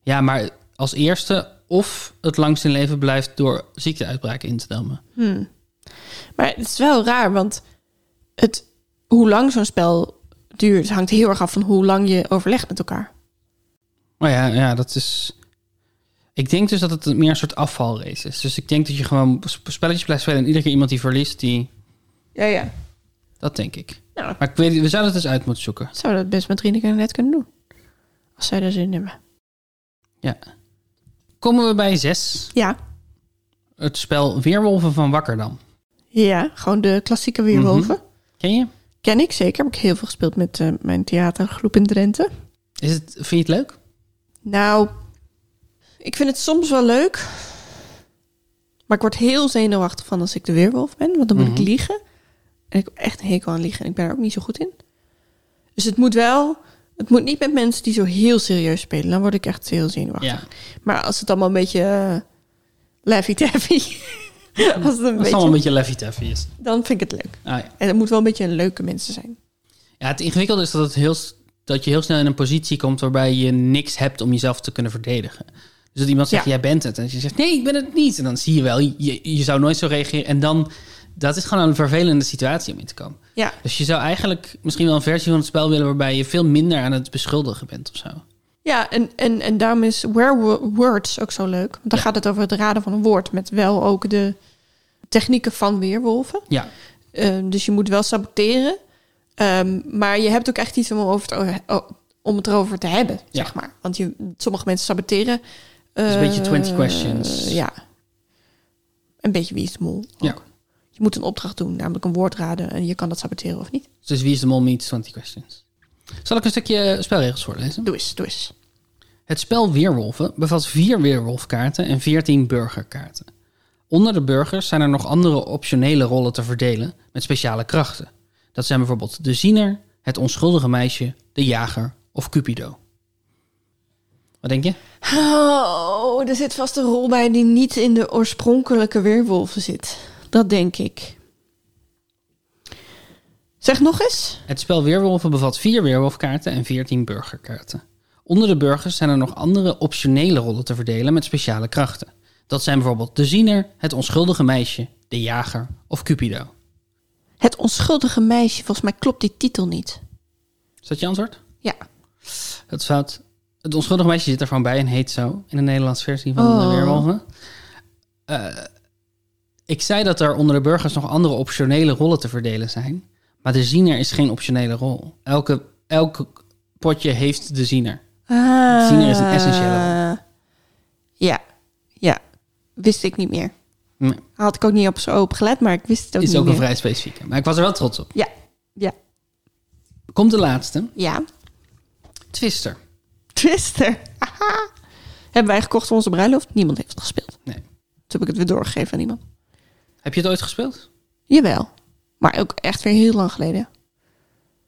B: Ja, maar als eerste of het langst in leven blijft door ziekteuitbraken in te dammen.
A: Hmm. Maar het is wel raar, want het, hoe lang zo'n spel duurt hangt heel erg af van hoe lang je overlegt met elkaar.
B: Maar ja, ja, dat is. Ik denk dus dat het meer een soort afvalrace is. Dus ik denk dat je gewoon sp- spelletjes blijft spelen en iedere keer iemand die verliest, die.
A: Ja, ja.
B: Dat denk ik.
A: Nou,
B: Maar ik weet, we zouden het eens uit moeten zoeken.
A: zouden we dat best met Rieneke en net kunnen doen. Als zij daar zin in hebben.
B: Komen we bij zes.
A: Ja.
B: Het spel Weerwolven van Wakkerdam.
A: Ja, gewoon de klassieke weerwolven.
B: Ken je?
A: Ken ik zeker. Heb ik heel veel gespeeld met eh, mijn theatergroep in Drenthe.
B: Is het, vind je het leuk?
A: Nou, ik vind het soms wel leuk. Maar ik word heel zenuwachtig van als ik de weerwolf ben. Want dan moet
B: Mhm.
A: ik liegen. En ik heb echt een hekel aan liegen. En ik ben er ook niet zo goed in. Dus het moet wel... Het moet niet met mensen die zo heel serieus spelen. Dan word ik echt heel zenuwachtig.
B: Ja.
A: Maar als het allemaal een beetje... eh, Laffy-taffy. als het een
B: Dat is
A: beetje...
B: allemaal een beetje leffy taffy is.
A: Dan vind ik het leuk.
B: Ah, ja.
A: En het moet wel een beetje een leuke mensen zijn.
B: ja, het ingewikkelde is dat, het heel, s- dat je heel snel in een positie komt waarbij je niks hebt om jezelf te kunnen verdedigen. Dus dat iemand zegt,
A: Ja.
B: jij bent het. En je zegt, nee, ik ben het niet. En dan zie je wel, je, je zou nooit zo reageren. En dan, dat is gewoon een vervelende situatie om in te komen.
A: Ja.
B: Dus je zou eigenlijk misschien wel een versie van het spel willen... waarbij je veel minder aan het beschuldigen bent of zo.
A: Ja, en, en, en daarom is Where Wo- Words ook zo leuk. Want dan gaat het over het raden van een woord. Met wel ook de technieken van weerwolven.
B: Ja,
A: Ehm, dus je moet wel saboteren. Ehm, maar je hebt ook echt iets om, over het, over- o- om het erover te hebben, zeg maar. Want je, sommige mensen saboteren. Het
B: is een beetje 20 questions.
A: Ja. Een beetje wie is de mol. Ook.
B: Ja.
A: Je moet een opdracht doen, namelijk een woord raden. En je kan dat saboteren of niet.
B: Dus wie is de mol meets 20 questions. Zal ik een stukje spelregels voorlezen?
A: Doe eens, doe eens.
B: Het spel Weerwolven bevat vier weerwolfkaarten en 14 burgerkaarten. Onder de burgers zijn er nog andere optionele rollen te verdelen met speciale krachten. Dat zijn bijvoorbeeld de ziener, het onschuldige meisje, de jager of Cupido. Wat denk je?
A: Oh, er zit vast een rol bij die niet in de oorspronkelijke weerwolven zit. Dat denk ik. Zeg nog eens.
B: Het spel Weerwolven bevat vier weerwolfkaarten en 14 burgerkaarten. Onder de burgers zijn er nog andere optionele rollen te verdelen met speciale krachten. Dat zijn bijvoorbeeld de ziener, het onschuldige meisje, de jager of Cupido.
A: Het onschuldige meisje, volgens mij klopt die titel niet.
B: Is dat je antwoord?
A: Ja.
B: Dat is fout. Het onschuldige meisje zit er gewoon bij en heet zo in de Nederlandse versie van de
A: Oh.
B: Weerwolven. Eh, ik zei dat er onder de burgers nog andere optionele rollen te verdelen zijn. Maar de ziener is geen optionele rol. Elke, elke potje heeft de ziener.
A: Ah.
B: Ziener is een essentiële
A: Ja, ja. Wist ik niet meer.
B: Nee.
A: Had ik ook niet op zo open gelet, maar ik wist het ook
B: is
A: niet
B: ook
A: meer.
B: een vrij specifieke. Maar ik was er wel trots op.
A: Ja, ja,
B: Komt de laatste.
A: ja.
B: Twister.
A: Twister. Haha. Hebben wij gekocht voor onze bruiloft? Niemand heeft het gespeeld.
B: Nee.
A: Toen heb ik het weer doorgegeven aan iemand.
B: Heb je het ooit gespeeld?
A: Jawel. Maar ook echt weer heel lang geleden.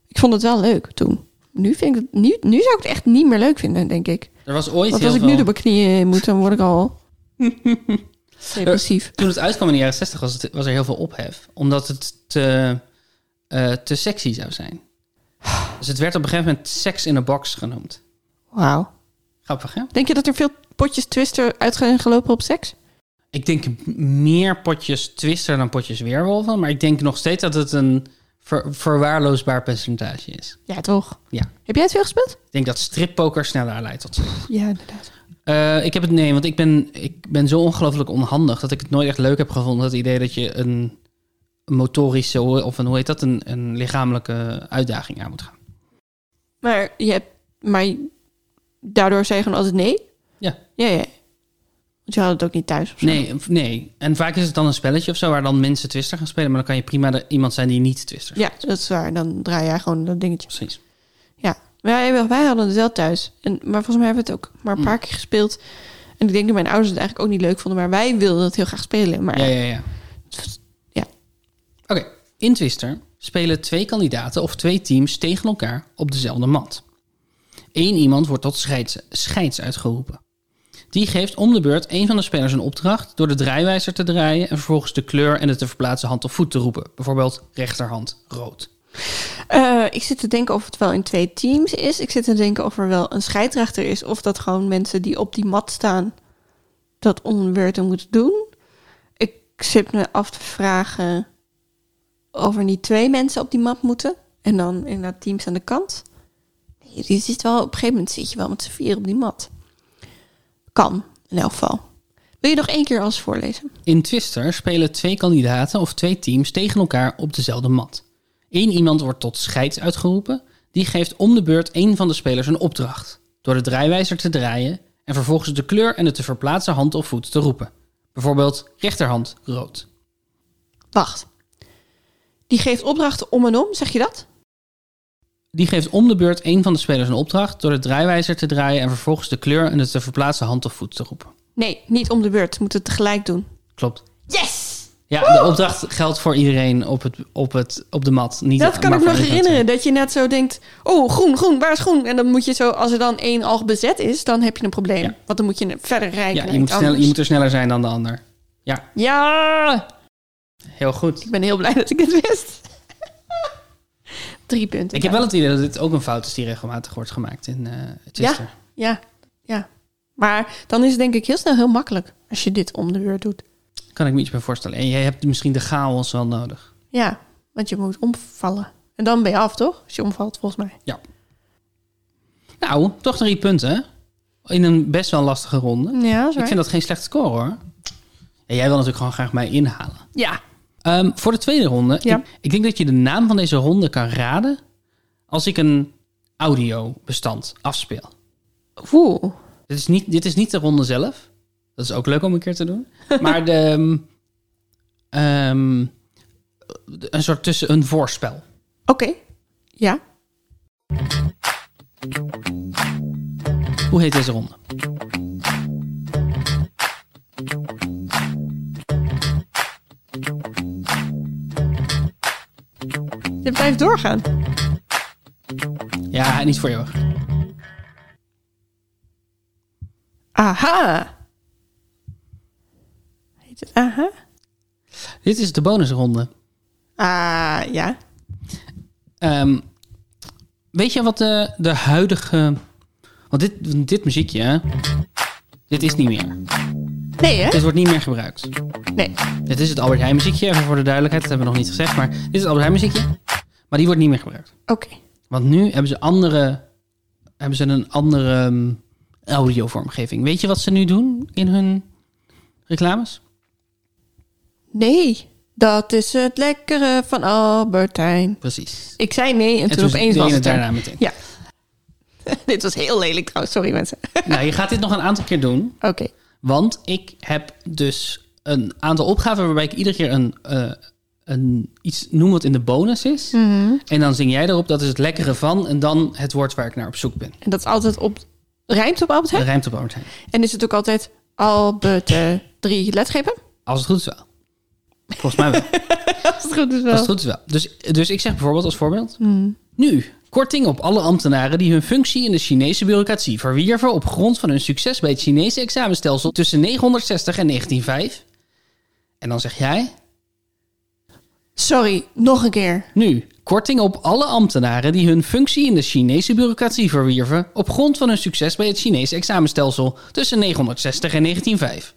A: Ik vond het wel leuk toen. Nu, vind ik het, nu, nu zou ik het echt niet meer leuk vinden, denk ik.
B: Er was ooit
A: Want
B: heel
A: als ik
B: veel...
A: nu door mijn knieën heen moet, dan word ik al depressief.
B: Toen het uitkwam in de jaren 60 was, het, was er heel veel ophef. Omdat het te, eh, te sexy zou zijn. Dus het werd op een gegeven moment Sex in a Box genoemd.
A: Wauw.
B: Grappig, hè?
A: Denk je dat er veel potjes twister uit zijn gelopen op seks?
B: Ik denk meer potjes Twister dan potjes Weerwolven. Maar ik denk nog steeds dat het een ver- verwaarloosbaar percentage is.
A: Ja, toch?
B: Ja.
A: Heb jij het veel gespeeld?
B: Ik denk dat strippoker sneller leidt tot seks.
A: Ja, inderdaad.
B: Eh, ik heb het nee, want ik ben, ik ben zo ongelooflijk onhandig dat ik het nooit echt leuk heb gevonden. Het idee dat je een motorische of een, hoe heet dat, een, een lichamelijke uitdaging aan moet gaan.
A: Maar, je hebt, maar daardoor zei je gewoon altijd nee?
B: Ja.
A: Ja, ja. Want je had het ook niet thuis of zo.
B: Nee, v- nee. En vaak is het dan een spelletje of zo waar dan mensen twister gaan spelen, maar dan kan je prima de- iemand zijn die niet twister.
A: Ja, dat is waar. Dan draai jij gewoon dat dingetje.
B: Precies.
A: Ja. Wij, wij hadden het wel thuis. En, maar volgens mij hebben we het ook maar een
B: Mm.
A: paar keer gespeeld. En ik denk dat mijn ouders het eigenlijk ook niet leuk vonden. Maar wij wilden het heel graag spelen. Maar
B: Ja, ja, ja.
A: Ja.
B: Oké. In twister spelen twee kandidaten of twee teams tegen elkaar op dezelfde mat. Eén iemand wordt tot scheids, scheids uitgeroepen. Die geeft om de beurt één van de spelers een opdracht door de draaiwijzer te draaien en vervolgens de kleur en de te verplaatsen hand of voet te roepen. Bijvoorbeeld rechterhand rood.
A: Eh, ik zit te denken of het wel in twee teams is. Ik zit te denken of er wel een scheidsrechter is. Of dat gewoon mensen die op die mat staan dat onbeurten moeten doen. Ik zit me af te vragen of er niet twee mensen op die mat moeten. En dan inderdaad teams aan de kant. Nee, Je zit wel, op een gegeven moment zit je wel met z'n vier op die mat. Kan, in elk geval. Wil je nog één keer alles voorlezen?
B: In Twister spelen twee kandidaten of twee teams tegen elkaar op dezelfde mat. Eén iemand wordt tot scheids uitgeroepen. Die geeft om de beurt één van de spelers een opdracht. Door de draaiwijzer te draaien en vervolgens de kleur en de te verplaatsen hand of voet te roepen. Bijvoorbeeld rechterhand rood.
A: Wacht. Die geeft opdrachten om en om, zeg je dat?
B: Die geeft om de beurt één van de spelers een opdracht door de draaiwijzer te draaien en vervolgens de kleur en de te verplaatsen hand of voet te roepen.
A: Nee, niet om de beurt. Ze moeten het tegelijk doen.
B: Klopt.
A: Yes!
B: Ja, de opdracht geldt voor iedereen op, het, op, het, op de mat. Niet
A: Dat kan
B: maar
A: ik me
B: voor
A: nog
B: één van de twee.
A: herinneren. Dat je net zo denkt, oh, groen, groen, waar is groen? En dan moet je zo, als er dan één al bezet is, dan heb je een probleem.
B: Ja.
A: Want dan moet je verder rijden.
B: Ja, je moet, snel, je moet er sneller zijn dan de ander.
A: Ja!
B: Heel goed.
A: Ik ben heel blij dat ik het wist. Drie punten.
B: Ik heb wel het idee dat dit ook een fout is die regelmatig wordt gemaakt in eh Twister.
A: Ja, ja. Maar dan is het denk ik heel snel heel makkelijk als je dit om de beurt doet.
B: Kan ik me iets bij voorstellen. En jij hebt misschien de chaos wel nodig.
A: Ja, want je moet omvallen. En dan ben je af, toch? Als je omvalt, volgens mij.
B: Nou, toch drie punten. hè? In een best wel lastige ronde.
A: Ja, dat is
B: Ik
A: waar.
B: vind dat geen slecht score hoor. En jij wil natuurlijk gewoon graag mij inhalen.
A: Ja.
B: Ehm, voor de tweede ronde.
A: Ja.
B: Ik, ik denk dat je de naam van deze ronde kan raden als ik een audiobestand afspeel.
A: Oeh.
B: Dit is, niet, dit is niet de ronde zelf. Dat is ook leuk om een keer te doen. Maar de, ehm, ehm, de- een soort tussen een voorspel.
A: Oké. Ja.
B: Hoe heet deze ronde?
A: Dit blijft doorgaan.
B: Ja, niet voor eeuwig.
A: Aha. Heet het aha?
B: Dit is de bonusronde.
A: Ah, ja.
B: Ehm, weet je wat de, de huidige... Want dit, dit muziekje, hè? dit is niet meer.
A: Nee, hè?
B: Dit wordt niet meer gebruikt.
A: Nee.
B: Dit is het Albert Heijn muziekje, even voor de duidelijkheid. Dat hebben we nog niet gezegd, maar dit is het Albert Heijn muziekje. Maar die wordt niet meer gebruikt.
A: Oké.
B: Want nu hebben ze, andere, hebben ze een andere ehm, audiovormgeving. Weet je wat ze nu doen in hun reclames?
A: Nee, dat is het lekkere van Albertijn.
B: Precies.
A: Ik zei nee en, toen,
B: toen
A: opeens
B: deed
A: was
B: je
A: het
B: het
A: er.
B: daarna meteen.
A: Ja. Dit was heel lelijk trouwens, sorry mensen.
B: Nou, je gaat dit nog een aantal keer doen.
A: Oké.
B: Want ik heb dus een aantal opgaven waarbij ik iedere keer een, eh, een, iets noem wat in de bonus is. En dan zing jij erop, dat is het lekkere van. En dan het woord waar ik naar op zoek ben.
A: En dat is altijd op... Rijmt op Albert
B: Dat
A: Heijn?
B: rijmt op Albert Heijn.
A: En is het ook altijd Albert eh, drie letgrepen?
B: Als het goed is wel. Volgens mij wel.
A: Als het goed is wel.
B: Als het goed is wel. Dus, dus ik zeg bijvoorbeeld als voorbeeld. Nu, korting op alle ambtenaren die hun functie in de Chinese bureaucratie verwierven... op grond van hun succes bij het Chinese examenstelsel tussen 960 en 1905. En dan zeg jij...
A: Sorry, nog een keer.
B: Nu, korting op alle ambtenaren die hun functie in de Chinese bureaucratie verwierven op grond van hun succes bij het Chinese examenstelsel tussen 960 en 1905.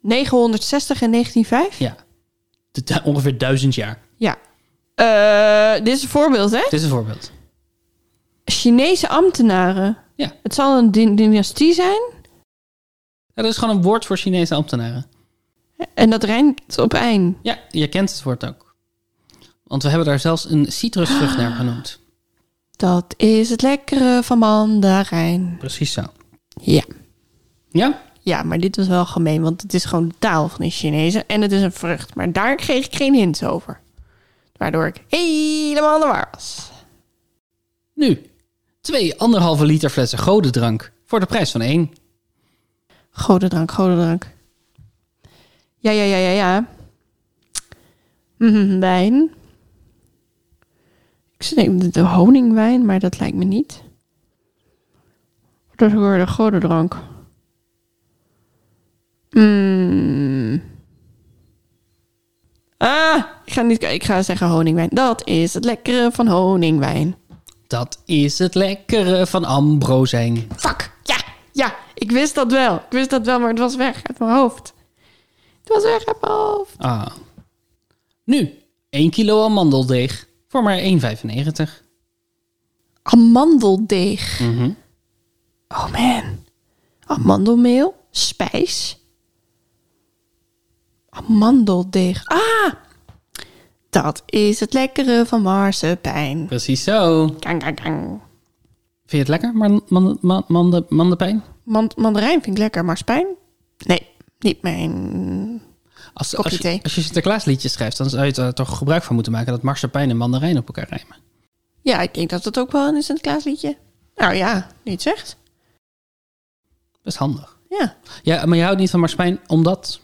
A: 960 en 1905?
B: Ja, De du- ongeveer duizend jaar.
A: Ja. Eh, dit is een voorbeeld, hè?
B: Dit is een voorbeeld.
A: Chinese ambtenaren.
B: Ja.
A: Het zal een dyn- dynastie zijn.
B: Ja, dat is gewoon een woord voor Chinese ambtenaren.
A: En dat rijmt op ein.
B: Ja, je kent het woord ook. Want we hebben daar zelfs een citrusvrucht naar genoemd.
A: Dat is het lekkere van mandarijn.
B: Precies zo.
A: Ja.
B: Ja?
A: Ja, maar dit was wel gemeen, want het is gewoon de taal van de Chinezen. En het is een vrucht. Maar daar kreeg ik geen hints over. Waardoor ik helemaal aan de war was.
B: Nu, twee anderhalve liter flessen godendrank voor de prijs van één.
A: Godendrank, godendrank. Ja, ja, ja, ja, ja. Mhm, wijn. Ik zit even de honingwijn, maar dat lijkt me niet. Dat hoorde godendrank. Mm. Ah, ik ga, niet, ik ga zeggen honingwijn. Dat is het lekkere van honingwijn.
B: Dat is het lekkere van ambrozijn.
A: Fuck, ja, ja, ik wist dat wel. Ik wist dat wel, maar het was weg uit mijn hoofd. Het was weg uit mijn hoofd.
B: Ah. Nu, 1 kilo amandeldeeg voor maar 1,95.
A: Amandeldeeg. Oh man. Amandelmeel, spijs. Amandeldeeg. Ah, dat is het lekkere van marsepein.
B: Precies zo. Vind
A: Kang, kang, kang.
B: je het lekker, man, man, man, mande- mandepijn?
A: Man- mandarijn vind ik lekker, marsepein? Nee, niet mijn...
B: Als,
A: Kopje
B: als, je,
A: thee.
B: als je Sinterklaas liedjes schrijft, dan zou je er toch gebruik van moeten maken dat marsepein en mandarijn op elkaar rijmen.
A: Ja, ik denk dat dat ook wel een Sinterklaasliedje. Nou ja, niet zegt.
B: Best handig.
A: Ja.
B: Ja, maar je houdt niet van marsepein omdat...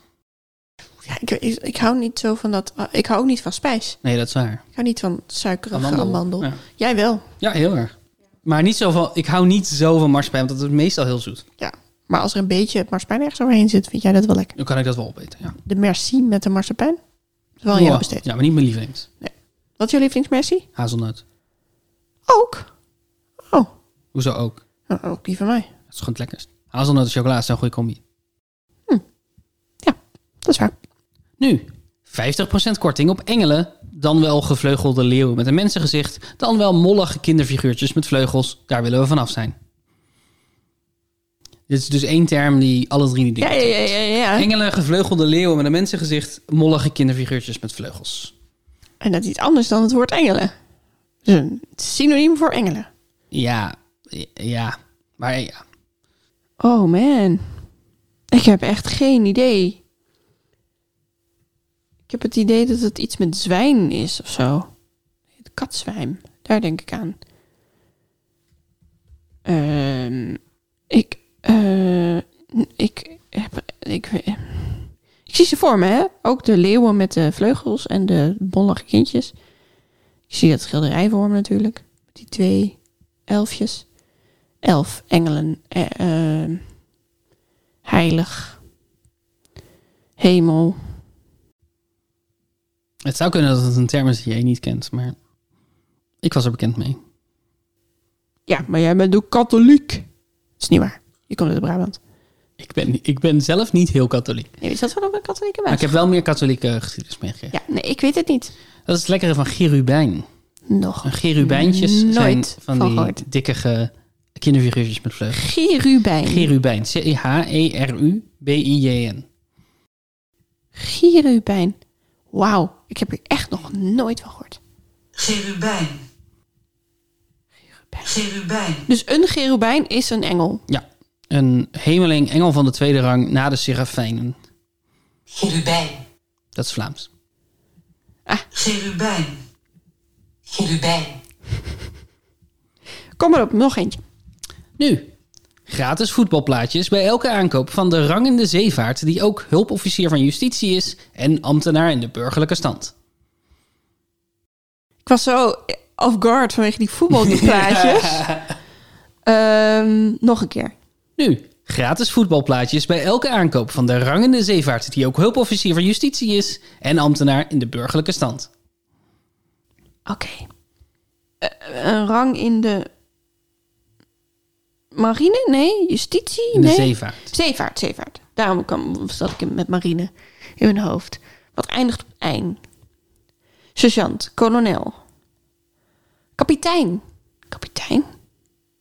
A: Ja, ik, ik, ik hou niet zo van dat. ah, Ik hou ook niet van spijs.
B: Nee, dat is waar.
A: Ik hou niet van suikerige
B: Amandel.
A: amandel.
B: Ja.
A: Jij wel.
B: Ja, heel erg. Maar niet zo van, ik hou niet zo van marsepein, want dat is meestal heel zoet.
A: Ja. Maar als er een beetje marsepein ergens overheen zit, vind jij dat wel lekker.
B: Dan kan ik dat wel opeten, ja.
A: De merci met de marsepein. Dat is wel een
B: Wow.
A: heel besteed.
B: Ja, maar niet mijn lievelings.
A: Wat is jouw lievelingsmercy?
B: Hazelnoot.
A: Ook. Oh,
B: Hoezo ook?
A: nou, ook die van mij.
B: Dat is gewoon het lekkerst. Hazelnoot en chocola is een goede combi.
A: Dat is waar.
B: Nu, 50% korting op engelen, dan wel gevleugelde leeuwen met een mensengezicht, dan wel mollige kinderfiguurtjes met vleugels. Daar willen we vanaf zijn. Dit is dus één term die alle drie die
A: Ja,
B: dingen.
A: ja, ja, ja. ja.
B: Engelen, gevleugelde leeuwen met een mensengezicht, mollige kinderfiguurtjes met vleugels.
A: En dat is iets anders dan het woord engelen. Dus een synoniem voor engelen.
B: Ja, ja, maar ja.
A: Oh man. Ik heb echt geen idee. Ik heb het idee dat het iets met zwijn is of zo. Het katzwijn. Daar denk ik aan. Ehm, ik, eh, ik heb. Ik, we- ik zie ze voor me, hè? Ook de leeuwen met de vleugels en de bollige kindjes. Ik zie dat schilderij voor me natuurlijk. Die twee elfjes. Elf engelen. eh, ehm, heilig. Hemel.
B: Het zou kunnen dat het een term is die jij niet kent, maar ik was er bekend mee.
A: Ja, maar jij bent ook katholiek. Dat is niet waar. Je komt uit Brabant.
B: Ik ben, ik ben zelf niet heel katholiek.
A: Nee, is dat wel op een katholieke
B: Maar ik
A: wijze?
B: heb wel meer katholieke geschiedenis meegekregen.
A: Ja, nee, ik weet het niet.
B: Dat is het lekkere van gerubijn.
A: Nog.
B: En gerubijntjes zijn
A: Nooit
B: van,
A: van
B: die
A: gehoord.
B: dikkige kinderfiguurtjes met vleugels.
A: Gerubijn.
B: Gerubijn. C-H-E-R-U-B-I-J-N.
A: Gerubijn. Wauw, ik heb er echt nog nooit van gehoord.
C: Gerubijn. Gerubijn.
A: Dus een gerubijn is een engel.
B: Ja. Een hemeling, engel van de tweede rang, na de serafijnen.
C: Gerubijn.
B: Dat is Vlaams.
C: Gerubijn. Gerubijn.
A: Kom maar op, nog eentje.
B: Nu, gratis voetbalplaatjes bij elke aankoop van de rangende zeevaart... die ook hulpofficier van justitie is en ambtenaar in de burgerlijke stand.
A: Ik was zo off guard vanwege die voetbalplaatjes. Ehm, nog een keer.
B: Nu, gratis voetbalplaatjes bij elke aankoop van de rangende zeevaart... die ook hulpofficier van justitie is en ambtenaar in de burgerlijke stand.
A: Oké. Eh, een rang in de marine? Nee, justitie?
B: In de
A: Nee.
B: zeevaart.
A: Zeevaart, zeevaart. Daarom kwam, zat ik in- met marine in mijn hoofd. Wat eindigt op ein? Sergeant, kolonel. Kapitein. Kapitein?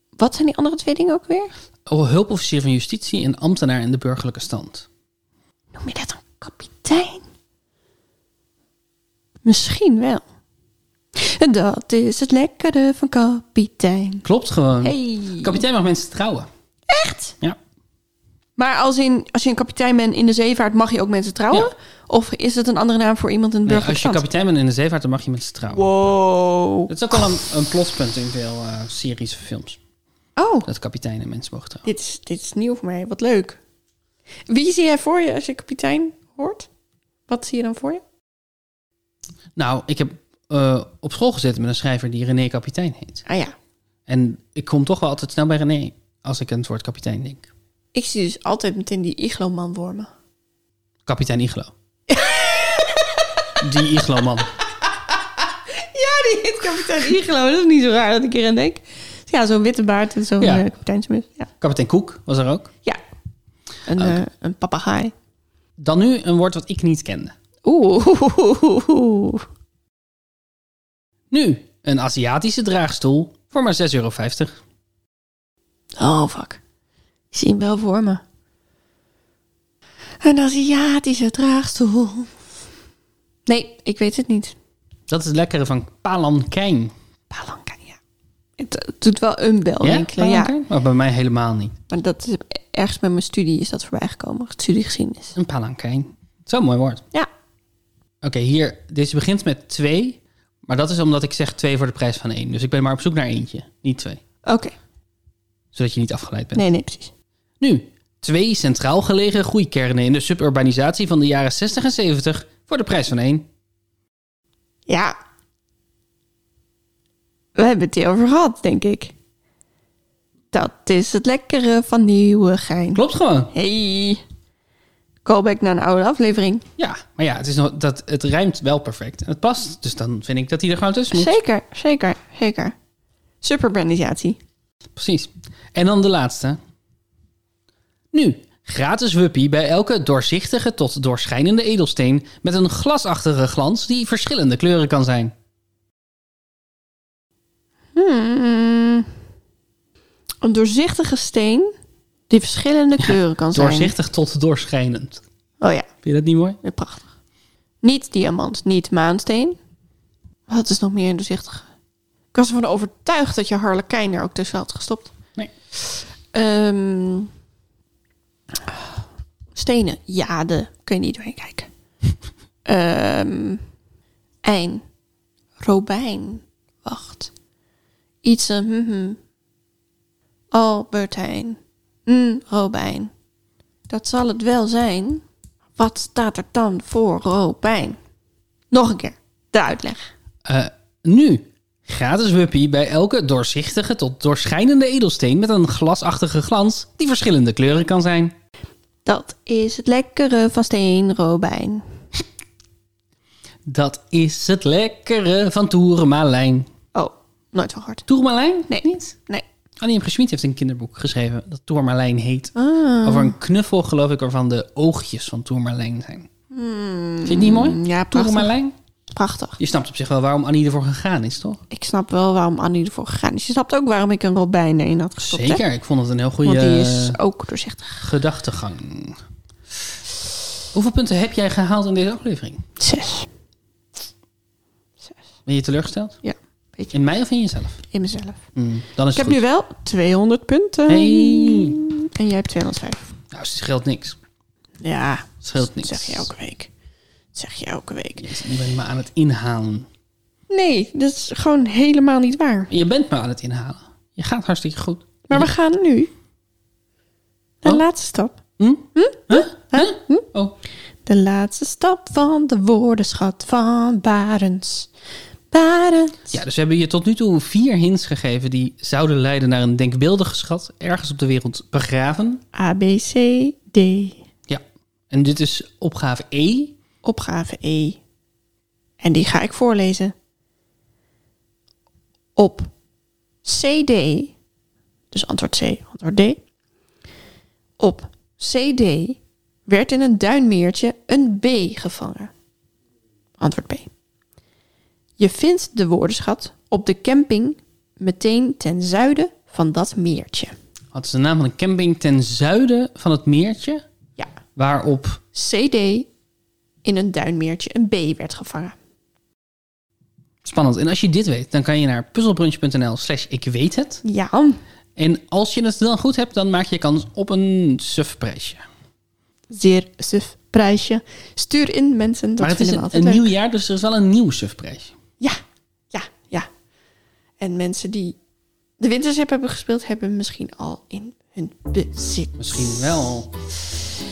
A: Wat zijn die andere twee dingen ook weer?
B: Oh, hulpofficier van justitie en ambtenaar in de burgerlijke stand.
A: Noem je dat dan kapitein? Misschien wel. En dat is het lekkere van kapitein.
B: Klopt gewoon.
A: Hey.
B: Kapitein mag mensen trouwen.
A: Echt?
B: Ja.
A: Maar als, in, als je een kapitein bent in de zeevaart, mag je ook mensen trouwen?
B: Ja.
A: Of is het een andere naam voor iemand in het
B: Nee,
A: burgerlijk
B: als je
A: stand?
B: kapitein bent in de zeevaart, dan mag je mensen trouwen.
A: Wow.
B: Dat is ook wel een, een plotpunt in veel eh, series en films.
A: Oh,
B: Dat kapiteinen mensen mogen trouwen.
A: dit is, dit is nieuw voor mij. Wat leuk. Wie zie jij voor je als je kapitein hoort? Wat zie je dan voor je?
B: Nou, ik heb eh, op school gezeten met een schrijver die René Kapitein heet.
A: Ah ja,
B: En ik kom toch wel altijd snel bij René als ik aan het woord kapitein denk.
A: ik zie dus altijd meteen die iglo-man wormen.
B: Kapitein Iglo. die Iglo-man.
A: Ja, die heet kapitein Iglo. Dat is niet zo raar dat ik erin denk. Ja, zo'n witte baard en zo'n
B: Ja.
A: eh, kapiteinsmuts. Ja.
B: Kapitein Koek was er ook.
A: ja. Een, eh, een papegaai.
B: Dan nu een woord wat ik niet kende.
A: Oeh.
B: Nu, een Aziatische draagstoel voor maar 6,50 euro.
A: Oh, fuck. Ik zie hem wel voor me. Een Aziatische draagstoel. Nee, ik weet het niet.
B: Dat is het lekkere van Palankijn.
A: Palanquin, ja. Het eh, doet wel een bel
B: Ja?
A: rinkelen, ja.
B: Palankijn? Maar bij mij helemaal niet.
A: Maar dat is ergens bij mijn studie is dat voorbij gekomen. Het studiegeschiedenis.
B: Een Palankijn. Zo'n mooi woord.
A: Ja.
B: Oké, hier. Deze begint met twee. Maar dat is omdat ik zeg twee voor de prijs van één. Dus ik ben maar op zoek naar eentje, niet twee.
A: Oké.
B: Zodat je niet afgeleid bent.
A: Nee, nee, precies.
B: Nu, twee centraal gelegen groeikernen in de suburbanisatie van de jaren 60 en 70 voor de prijs van één.
A: Ja. We hebben het hier over gehad, denk ik. Dat is het lekkere van Nieuwegein.
B: Klopt gewoon.
A: Hey. Callback naar een oude aflevering.
B: Ja, maar ja, het, is nog, dat, het rijmt wel perfect. En het past, dus dan vind ik dat hij er gewoon tussen moet.
A: Zeker, zeker, zeker. Superbrandisatie.
B: Precies. En dan de laatste. Nu, gratis wuppie bij elke doorzichtige tot doorschijnende edelsteen met een glasachtige glans die verschillende kleuren kan zijn.
A: Hmm. Een doorzichtige steen die verschillende kleuren kan zijn.
B: Doorzichtig tot doorschijnend.
A: Oh ja,
B: Vind je dat niet mooi?
A: weer prachtig. Niet diamant, niet maansteen. Wat is nog meer een doorzichtige? Ik was ervan overtuigd dat je Harlekijn er ook tussen had gestopt.
B: Nee.
A: Ehm, stenen, jade, kun je niet doorheen kijken. Ehm ein, robijn, wacht. Iets een mhm. Albertijn, een robijn. Dat zal het wel zijn. Wat staat er dan voor robijn? Nog een keer, de uitleg.
B: Eh, nu, gratis wuppie bij elke doorzichtige tot doorschijnende edelsteen met een glasachtige glans die verschillende kleuren kan zijn.
A: Dat is het lekkere van steenrobijn.
B: Dat is het lekkere van Toerenmalijn.
A: Oh, nooit van gehoord.
B: Toerenmalijn?
A: Nee.
B: Niet?
A: Nee.
B: Annie M. G. Schmid heeft een kinderboek geschreven dat Tourmalijn heet.
A: Ah.
B: Over een knuffel, geloof ik, waarvan de oogjes van Tourmalijn zijn. Vind je het niet mooi?
A: Ja, Hmm. prachtig.
B: Tourmalijn?
A: prachtig.
B: Je snapt op zich wel waarom Annie ervoor gegaan is, toch?
A: Ik snap wel waarom Annie ervoor gegaan is. Je snapt ook waarom ik een robijn erin had gestopt. hè?
B: Zeker, eh, ik vond het een heel
A: Want die
B: goede
A: is ook doorzichtig.
B: gedachtegang. Hoeveel punten heb jij gehaald in deze aflevering?
A: Zes.
B: Ben je teleurgesteld?
A: Ja, beetje
B: In mij of in jezelf?
A: in mezelf.
B: Hmm, dan is
A: Ik heb
B: het
A: nu wel 200 punten.
B: Hey.
A: En jij hebt 205.
B: goed. Nou, het scheelt niks.
A: Ja,
B: Scheelt
A: dat
B: niks.
A: zeg je elke week. Dat zeg je elke week.
B: Je bent me aan het inhalen.
A: Nee, dat is gewoon helemaal niet waar.
B: Je bent me aan het inhalen. Je gaat hartstikke goed.
A: Maar we gaan nu de
B: Oh.
A: laatste stap.
B: Hm? Huh? Huh?
A: Hm?
B: Oh,
A: De laatste stap van de woordenschat van Barends. Barends.
B: Ja, dus we hebben je tot nu toe vier hints gegeven die zouden leiden naar een denkbeeldige schat ergens op de wereld begraven.
A: A, B, C, D.
B: Ja. En dit is opgave E.
A: Opgave E. En die ga ik voorlezen. Op CD, dus antwoord C, antwoord D. Op CD werd in een duinmeertje een B gevangen. Antwoord B. Je vindt de woordenschat op de camping meteen ten zuiden van dat meertje.
B: Wat is de naam van een camping ten zuiden van het meertje
A: Ja,
B: waarop
A: CD in een duinmeertje een B werd gevangen.
B: Spannend. En als je dit weet, dan kan je naar puzzelbrunch.nl slash ik weet het.
A: Ja,
B: En als je het dan goed hebt, dan maak je kans op een sufprijsje.
A: zeer suf prijsje. Stuur in mensen, dat
B: Maar het is
A: vinden we
B: een,
A: altijd
B: een
A: leuk.
B: nieuw jaar, dus er is wel een nieuw sufprijsje.
A: Ja, ja, ja. En mensen die de wintership hebben gespeeld, hebben misschien al in hun bezit.
B: Misschien wel.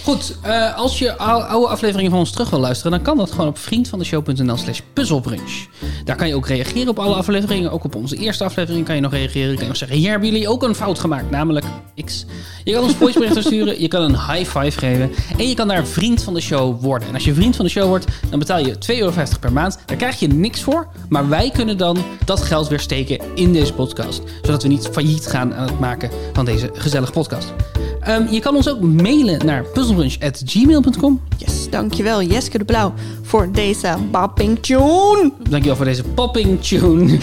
B: Goed, eh, als je ou- oude afleveringen van ons terug wil luisteren, dan kan dat gewoon op vriendvandeshow.nl slash puzzelbrunch. Daar kan je ook reageren op alle afleveringen. Ook op onze eerste aflevering kan je nog reageren. Je kan nog zeggen, hier hebben jullie ook een fout gemaakt, namelijk X. Je kan ons voiceberichten sturen, je kan een high five geven en je kan daar vriend van de show worden. En als je vriend van de show wordt, dan betaal je 2,50 euro per maand. Daar krijg je niks voor, maar wij kunnen dan dat geld weer steken in deze podcast. Zodat we niet failliet gaan aan het maken van deze gezellige podcast. Ehm, je kan ons ook mailen naar puzzlebrunch.gmail.com.
A: Yes, dankjewel Jeske de Blauw voor deze bapping tune.
B: Dankjewel voor deze popping tune.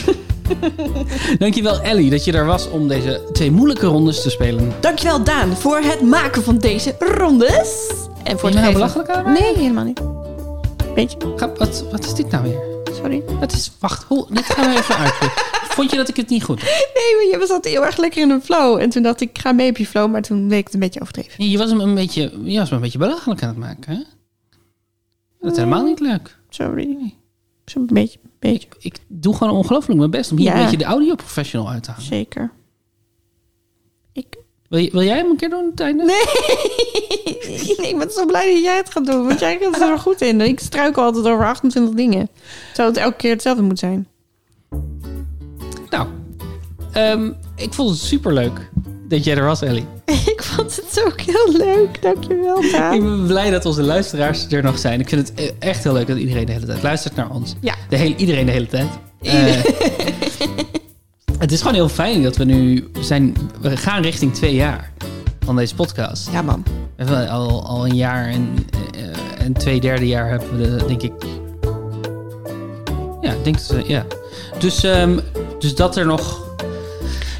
B: Dankjewel Ellie dat je daar was om deze twee moeilijke rondes te spelen.
A: Dankjewel Daan voor het maken van deze rondes. En voor
B: Ben je nou
A: het
B: belachelijk aan het maken?
A: Nee, helemaal niet. Beetje,
B: Ga- wat, wat is dit nou weer?
A: sorry.
B: Dat is, wacht, hoe, dit gaan we even uitleggen. Vond je dat ik het niet goed deed?
A: Nee, maar je zat heel erg lekker in een flow. En toen dacht ik, ik ga mee op je flow, maar toen bleek het een beetje overdreven.
B: Je was hem een beetje, je was me een beetje belachelijk aan het maken, hè? Dat is helemaal niet leuk.
A: Sorry. Zo'n beetje, beetje.
B: Ik doe gewoon ongelooflijk mijn best om hier
A: Ja.
B: een beetje de audio-professional uit te halen.
A: Zeker. Ik.
B: Wil, je- wil jij hem een keer doen aan het einde?
A: Nee, ik ben zo blij dat jij het gaat doen, want jij gaat er goed in. Ik struikel altijd over 28 dingen. Zou het elke keer hetzelfde moeten zijn?
B: Nou, ehm, ik vond het superleuk dat jij er was, Ellie.
A: Ik vond het ook heel leuk. Dankjewel,
B: Ik
A: Daan.
B: ben blij dat onze luisteraars er nog zijn. Ik vind het e- echt heel leuk dat iedereen de hele tijd luistert naar ons.
A: Ja.
B: De hele, iedereen de hele tijd. Eh, het is gewoon heel fijn dat we nu zijn... We gaan richting twee jaar van deze podcast.
A: Ja, man.
B: We hebben al, al een jaar en eh, een twee derde jaar hebben we, de, denk ik... Ja, ik denk dat we, ja. Dus, ehm, dus dat er nog...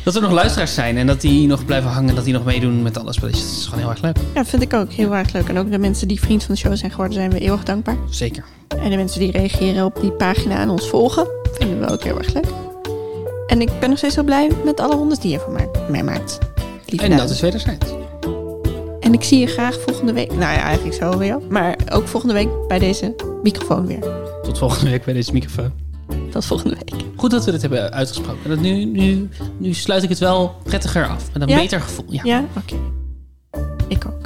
B: Dat er nog luisteraars zijn en dat die nog blijven hangen... dat die nog meedoen met alle spelletjes. Dat is gewoon heel erg leuk.
A: Ja, vind ik ook heel erg leuk. En ook de mensen die vriend van de show zijn geworden, zijn we eeuwig dankbaar.
B: Zeker.
A: En de mensen die reageren op die pagina en ons volgen, vinden we ook heel erg leuk. En ik ben nog steeds heel blij met alle rondes die je van mij, mij maakt. Lieve
B: En
A: Daan.
B: dat is wederzijds.
A: En ik zie je graag volgende week. Nou ja, eigenlijk zo weer. Maar ook volgende week bij deze microfoon weer.
B: Tot volgende week bij deze microfoon.
A: Tot volgende week.
B: Goed dat we dit hebben uitgesproken. En dat nu, nu, nu sluit ik het wel prettiger af. Met een
A: Ja?
B: beter gevoel. Ja.
A: Ja? Oké. Ik ook.